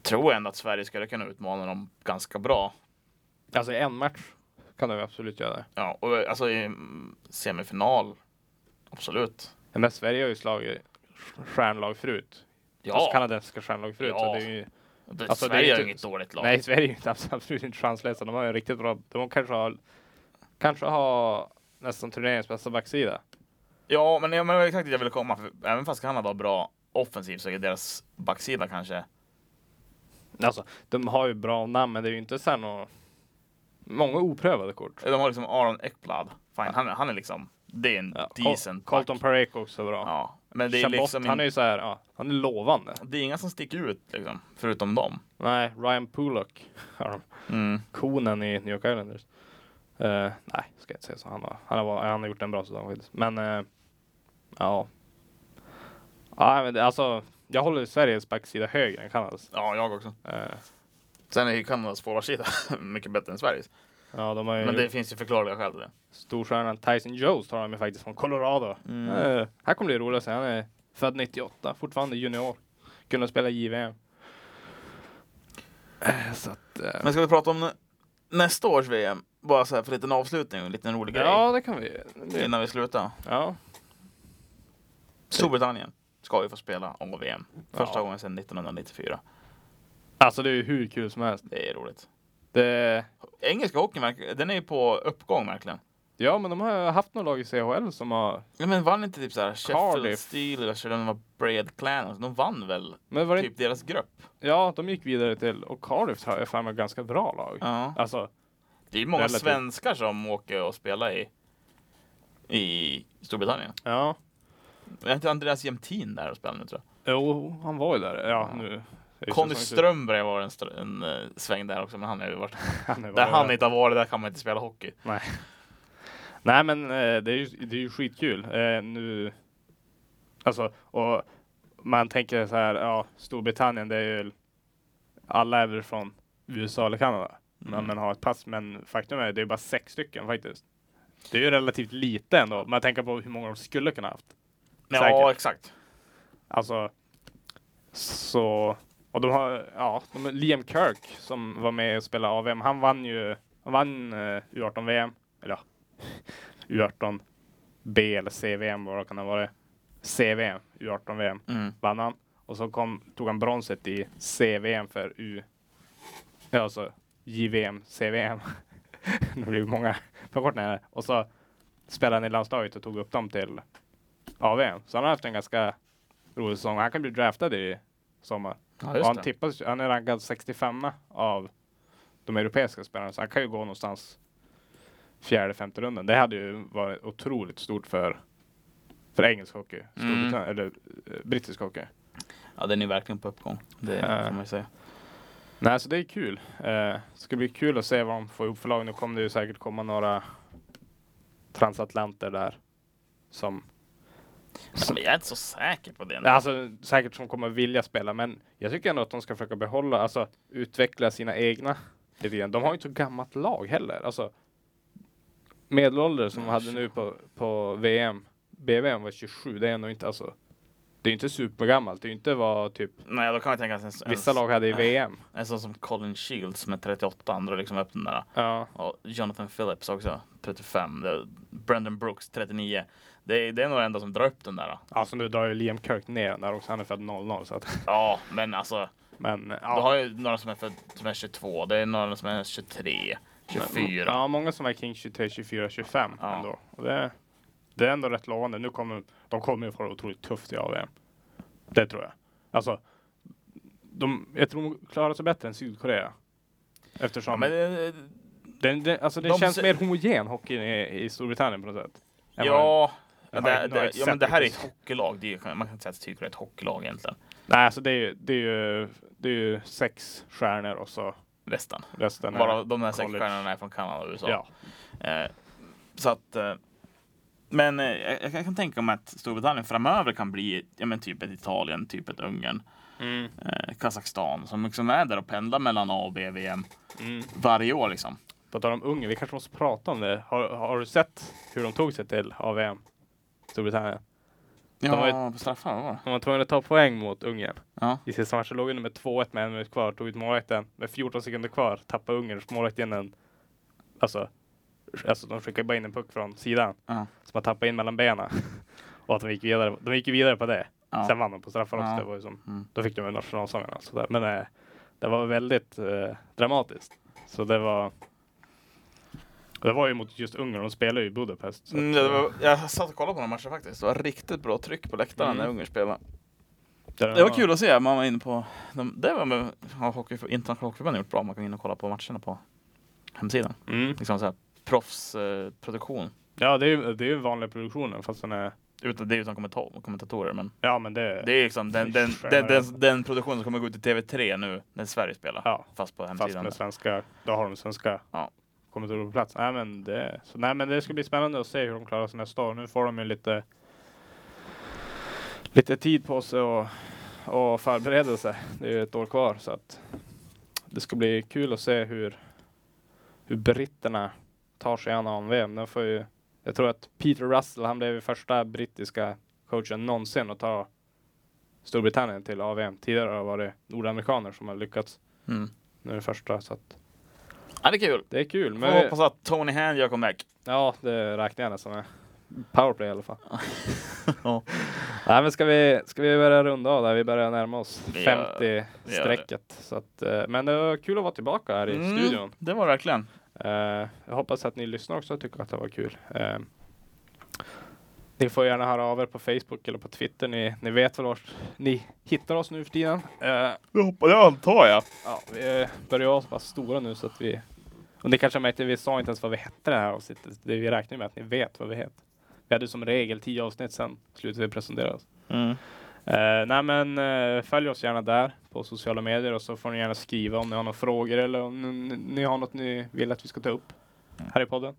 C: tror jag ändå att Sverige skulle kunna utmana dem ganska bra.
D: Alltså i en match kan du absolut göra det.
C: Ja, och eh, alltså i mm, semifinal, absolut.
D: Men Sverige har ju slagit stjärnlag förut.
C: Ja,
D: Alltså kanadensiska stjärnlag förut. Så
C: Ja.
D: det är ju,
C: det,
D: alltså, det är
C: Sverige
D: ju
C: är ju
D: typ-
C: inget dåligt lag.
D: nej, Sverige är ju inte- absolut inte chanslösa. De har ju en riktigt bra... De kanske har, kanske har nästan turneringens bästa backsida.
C: Ja, men, ja, men det var exakt dit jag ville komma. För även fast Kanada har bra offensiv så är deras backsida kanske...
D: Alltså, de har ju bra namn, men det är ju inte så här nå- Många oprövade kort.
C: De har liksom Aron Ekblad. Fine, han, är- han är liksom... Det är en
D: Ja, Col-
C: decent back.
D: Colton Pareko också bra.
C: Ja, men det är
D: Chabot,
C: liksom...
D: han
C: in-
D: är ju så här, ja, han är lovande.
C: Det är inga som sticker ut liksom, förutom dem.
D: Nej, Ryan Pulock har de.
C: Mm.
D: konen i New York Islanders. Eh, nej, ska jag inte säga så. Han har, han har, var- han har gjort en bra säsong faktiskt. Men eh, ja. Ja, men det, alltså. Jag håller Sveriges backsida högre än Kanadas.
C: Ja, jag också.
D: Eh,
C: Sen är ju Kanadas forwardsida mycket bättre än Sveriges.
D: ja, de har ju
C: Men det finns ju förklarliga skäl till det.
D: storstjärnan Tyson Jones tar de ju faktiskt från Colorado.
C: Mm.
D: Eh, här kommer det roligt att se. Han är född 98, fortfarande junior. Kunde spela JVM. Eh, så att, eh,
C: Men ska vi prata om nä- nästa års VM? Bara så här för en liten avslutning och en liten rolig grej
D: ja, det kan vi. Det,
C: innan vi slutar.
D: ja.
C: Storbritannien ska ju få spela om VM. Första
D: Ja.
C: gången sedan 1994.
D: Alltså det är ju hur kul som helst.
C: Det är roligt.
D: Det,
C: Engelska hockeyn, verk- den är ju på uppgång verkligen.
D: ja, men de har haft några lag i CHL som har...
C: Ja, men vann inte typ så här Sheffield
D: Cardiff.
C: Steelers eller de var Braid Clan? De vann väl
D: Men var det,
C: typ deras grupp?
D: Ja, de gick vidare till... Och Cardiff har jag för mig ganska bra lag.
C: Ja.
D: Alltså,
C: Det är ju många
D: Relativt.
C: svenskar som åker och spelar i, i Storbritannien.
D: ja.
C: Är inte Andreas Jämtin där och spelar nu tror
D: Jo, han var ju där. Ja,
C: Ja.
D: nu.
C: jag? Conny Strömberg var en, str- en eh, sväng där också, men han är ju varit...
D: Han är
C: Där
D: bara-
C: han inte har varit, där kan man inte spela hockey.
D: Nej. Nej men eh, det är ju, det är ju skitkul. Eh, nu, alltså, och man tänker så här, ja Storbritannien det är ju, alla är väl från USA eller Kanada.
C: Mm.
D: Men man har ett pass, men faktum är det är bara sex stycken faktiskt. Det är ju relativt lite ändå. Man tänker på hur många de skulle kunna haft.
C: Ja,
D: Säkert.
C: exakt.
D: Alltså, så... Och de har, ja, de, Liam Kirk som var med och spelade AVM, han vann ju, han vann eh, U18-VM, eller ja, U18B eller CVM vad det kan ha varit. CVM, U18-VM
C: Mm.
D: vann han. Och så kom, tog han bronset i CVM för U... Ja, alltså JVM, CVM. det blir ju många förkortningar. Och så spelade han i landslaget och tog upp dem till AVM. Så han har haft en ganska rolig säsong. Han kan bli draftad i sommar.
C: Ja,
D: och
C: just
D: han,
C: det.
D: tippas, han är rankad 65 av de europeiska spelarna, så han kan ju gå någonstans fjärde, femte runden. Det hade ju varit otroligt stort för, för engelsk hockey,
C: Mm.
D: Storbritannien- eller eh, brittisk hockey.
C: Ja, den är verkligen på uppgång. Det
D: Ja.
C: får man ju säga.
D: Nej, så det är kul. Eh, ska bli kul att se vad de får ihop för lag. Nu kommer det ju säkert komma några transatlanter där. Som,
C: Ja, men jag är inte så säker på det.
D: alltså säkert som kommer vilja spela, men jag tycker ändå att de ska försöka behålla, alltså utveckla sina egna. lite grann. De har ju inte så gammalt lag heller. Alltså, medelålder som de hade nu på, på VM, BVM var 27, det är ändå inte alltså. Det är ju inte supergammalt, det är ju inte vad typ
C: Nej, då kan man tänka sig en,
D: vissa
C: en,
D: lag hade i
C: nej.
D: VM.
C: en sån som Colin Shields som är 38, han drar liksom upp den där.
D: Ja,
C: Och Jonathan Phillips också, 35. Det är Brandon Brooks, 39. Det är, det är nog den enda som drar upp den där.
D: alltså nu drar ju Liam Kirk ner den där också, han är född 00 så att
C: Ja, men alltså.
D: Men
C: Du
D: ja,
C: har ju några som är, född, som är 22, det är några som är 23, 24.
D: ja, många som var kring 23, 24, 25
C: Ja.
D: ändå. Och det, det är ändå rätt lovande. Nu kommer de kommer ju få det otroligt tufft i AVM. Det tror jag. Alltså, de, jag tror de klarar sig bättre än Sydkorea. Eftersom
C: Ja, men, eh,
D: den, den, alltså det
C: de
D: känns
C: se-
D: mer homogen hockeyn i, i Storbritannien på något sätt. Än vad-
C: ja,
D: jag har
C: det,
D: inte- jag har
C: det,
D: inte
C: ja, men
D: sett
C: det här är ett
D: riktigt.
C: hockeylag. Det är, man kan inte säga att Tyker är ett hockeylag egentligen.
D: Nej, alltså det är ju, det är ju, det är ju sex stjärnor och så
C: Nästan.
D: resten är...
C: Varav de här sex
D: college.
C: stjärnorna är från Kanada och USA.
D: Ja.
C: Eh, så att, eh, men eh, jag, jag kan tänka mig att Storbritannien framöver kan bli ja, men typ ett Italien, typ ett Ungern,
D: Mm.
C: eh, Kazakstan som liksom är där och pendlar mellan A och B-VM
D: Mm.
C: varje år. Liksom.
D: På tal om Ungern, vi kanske måste prata om det. Har, har du sett hur de tog sig till AVM? Storbritannien.
C: Ja,
D: De var ju-
C: på straffar vad var det?
D: De var tvungna att ta poäng mot Ungern.
C: Ja.
D: I sista matchen låg under med 2-1 med en minut kvar, tog ut målvakten. Med 14 sekunder kvar tappade Ungerns målvakt in en... Alltså, alltså de skickade bara in en puck från sidan.
C: Ja.
D: Som man tappade in mellan benen. Och att de gick vidare, de gick ju vidare på det.
C: Ja.
D: Sen vann de på straffar också.
C: Ja.
D: Det var ju som,
C: Mm.
D: Då fick de väl nationalsången och sådär. Men eh, det var väldigt eh, dramatiskt. Så det var... Det var ju mot just Ungern, de spelade ju i Budapest. Så
C: Mm,
D: att, eh,
C: det var, jag satt och kollade på de matcherna faktiskt. Det var riktigt bra tryck på läktaren
D: Mm.
C: när Ungern spelade.
D: där
C: Det var kul att se. Man var inne på... De, det var med, har hockey, Internationella Hockeyförbundet gjort bra. Man kan gå in och kolla på matcherna på hemsidan.
D: Mm.
C: Liksom så här proffsproduktion. Eh, produktion.
D: Ja, det är ju det är ju vanliga produktionen fast den är...
C: utan, det är utan kommentar, kommentatorer. Men
D: Ja, men det...
C: Det är liksom den, den, den, den, den produktionen som kommer gå ut i TV3 nu när Sverige spelar.
D: Ja,
C: Fast på
D: fast
C: hemsidan.
D: med svenska. Då har de svenska
C: Ja.
D: kommentatorer på plats. Nej men, det, så, nej, men det ska bli spännande att se hur de klarar sig nästa år. Nu får de ju lite, lite tid på sig och, och förbereda sig. Det är ju ett år kvar så att det ska bli kul att se hur, hur britterna tar sig an AMVM. De får ju, jag tror att Peter Russell, han blev ju första brittiska coachen någonsin att ta Storbritannien till AVM. Tidigare har det varit nordamerikaner som har lyckats.
C: Mm.
D: Nu är det första så att
C: Ja, det är kul.
D: det är kul.
C: Men...
D: Men
C: Hoppas att Tony Hand gör comeback.
D: ja, det räknar jag nästan med. Powerplay i alla fall.
C: Ja.
D: Nej, men ska vi, ska vi börja runda av där? Vi börjar närma oss
C: Vi gör- vi gör det.
D: 50-strecket. Så att, eh, men det var kul att vara tillbaka här i
C: Mm,
D: studion.
C: Det var det verkligen.
D: Eh, jag hoppas att ni lyssnar också och tycker att det var kul. Eh, ni får gärna höra av er på Facebook eller på Twitter. Ni, ni vet väl vart ni hittar oss nu för tiden. Eh,
C: Det hoppas jag antar jag.
D: ja, vi eh, börjar vara så pass stora nu så att vi... Och ni kanske märkte, vi sa inte ens vad vi hette det här avsnittet. Det vi räknar med att ni vet vad vi heter. Vi hade som regel tio avsnitt sen slutade vi presentera oss.
C: Mm.
D: Eh, nej men eh, följ oss gärna där på sociala medier och så får ni gärna skriva om ni har några frågor eller om ni, ni har något ni vill att vi ska ta upp här i podden.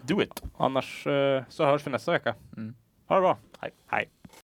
C: Do it.
D: Annars eh, så hörs vi nästa vecka.
C: Mm.
D: Ha det bra.
C: Hej.
D: Hej.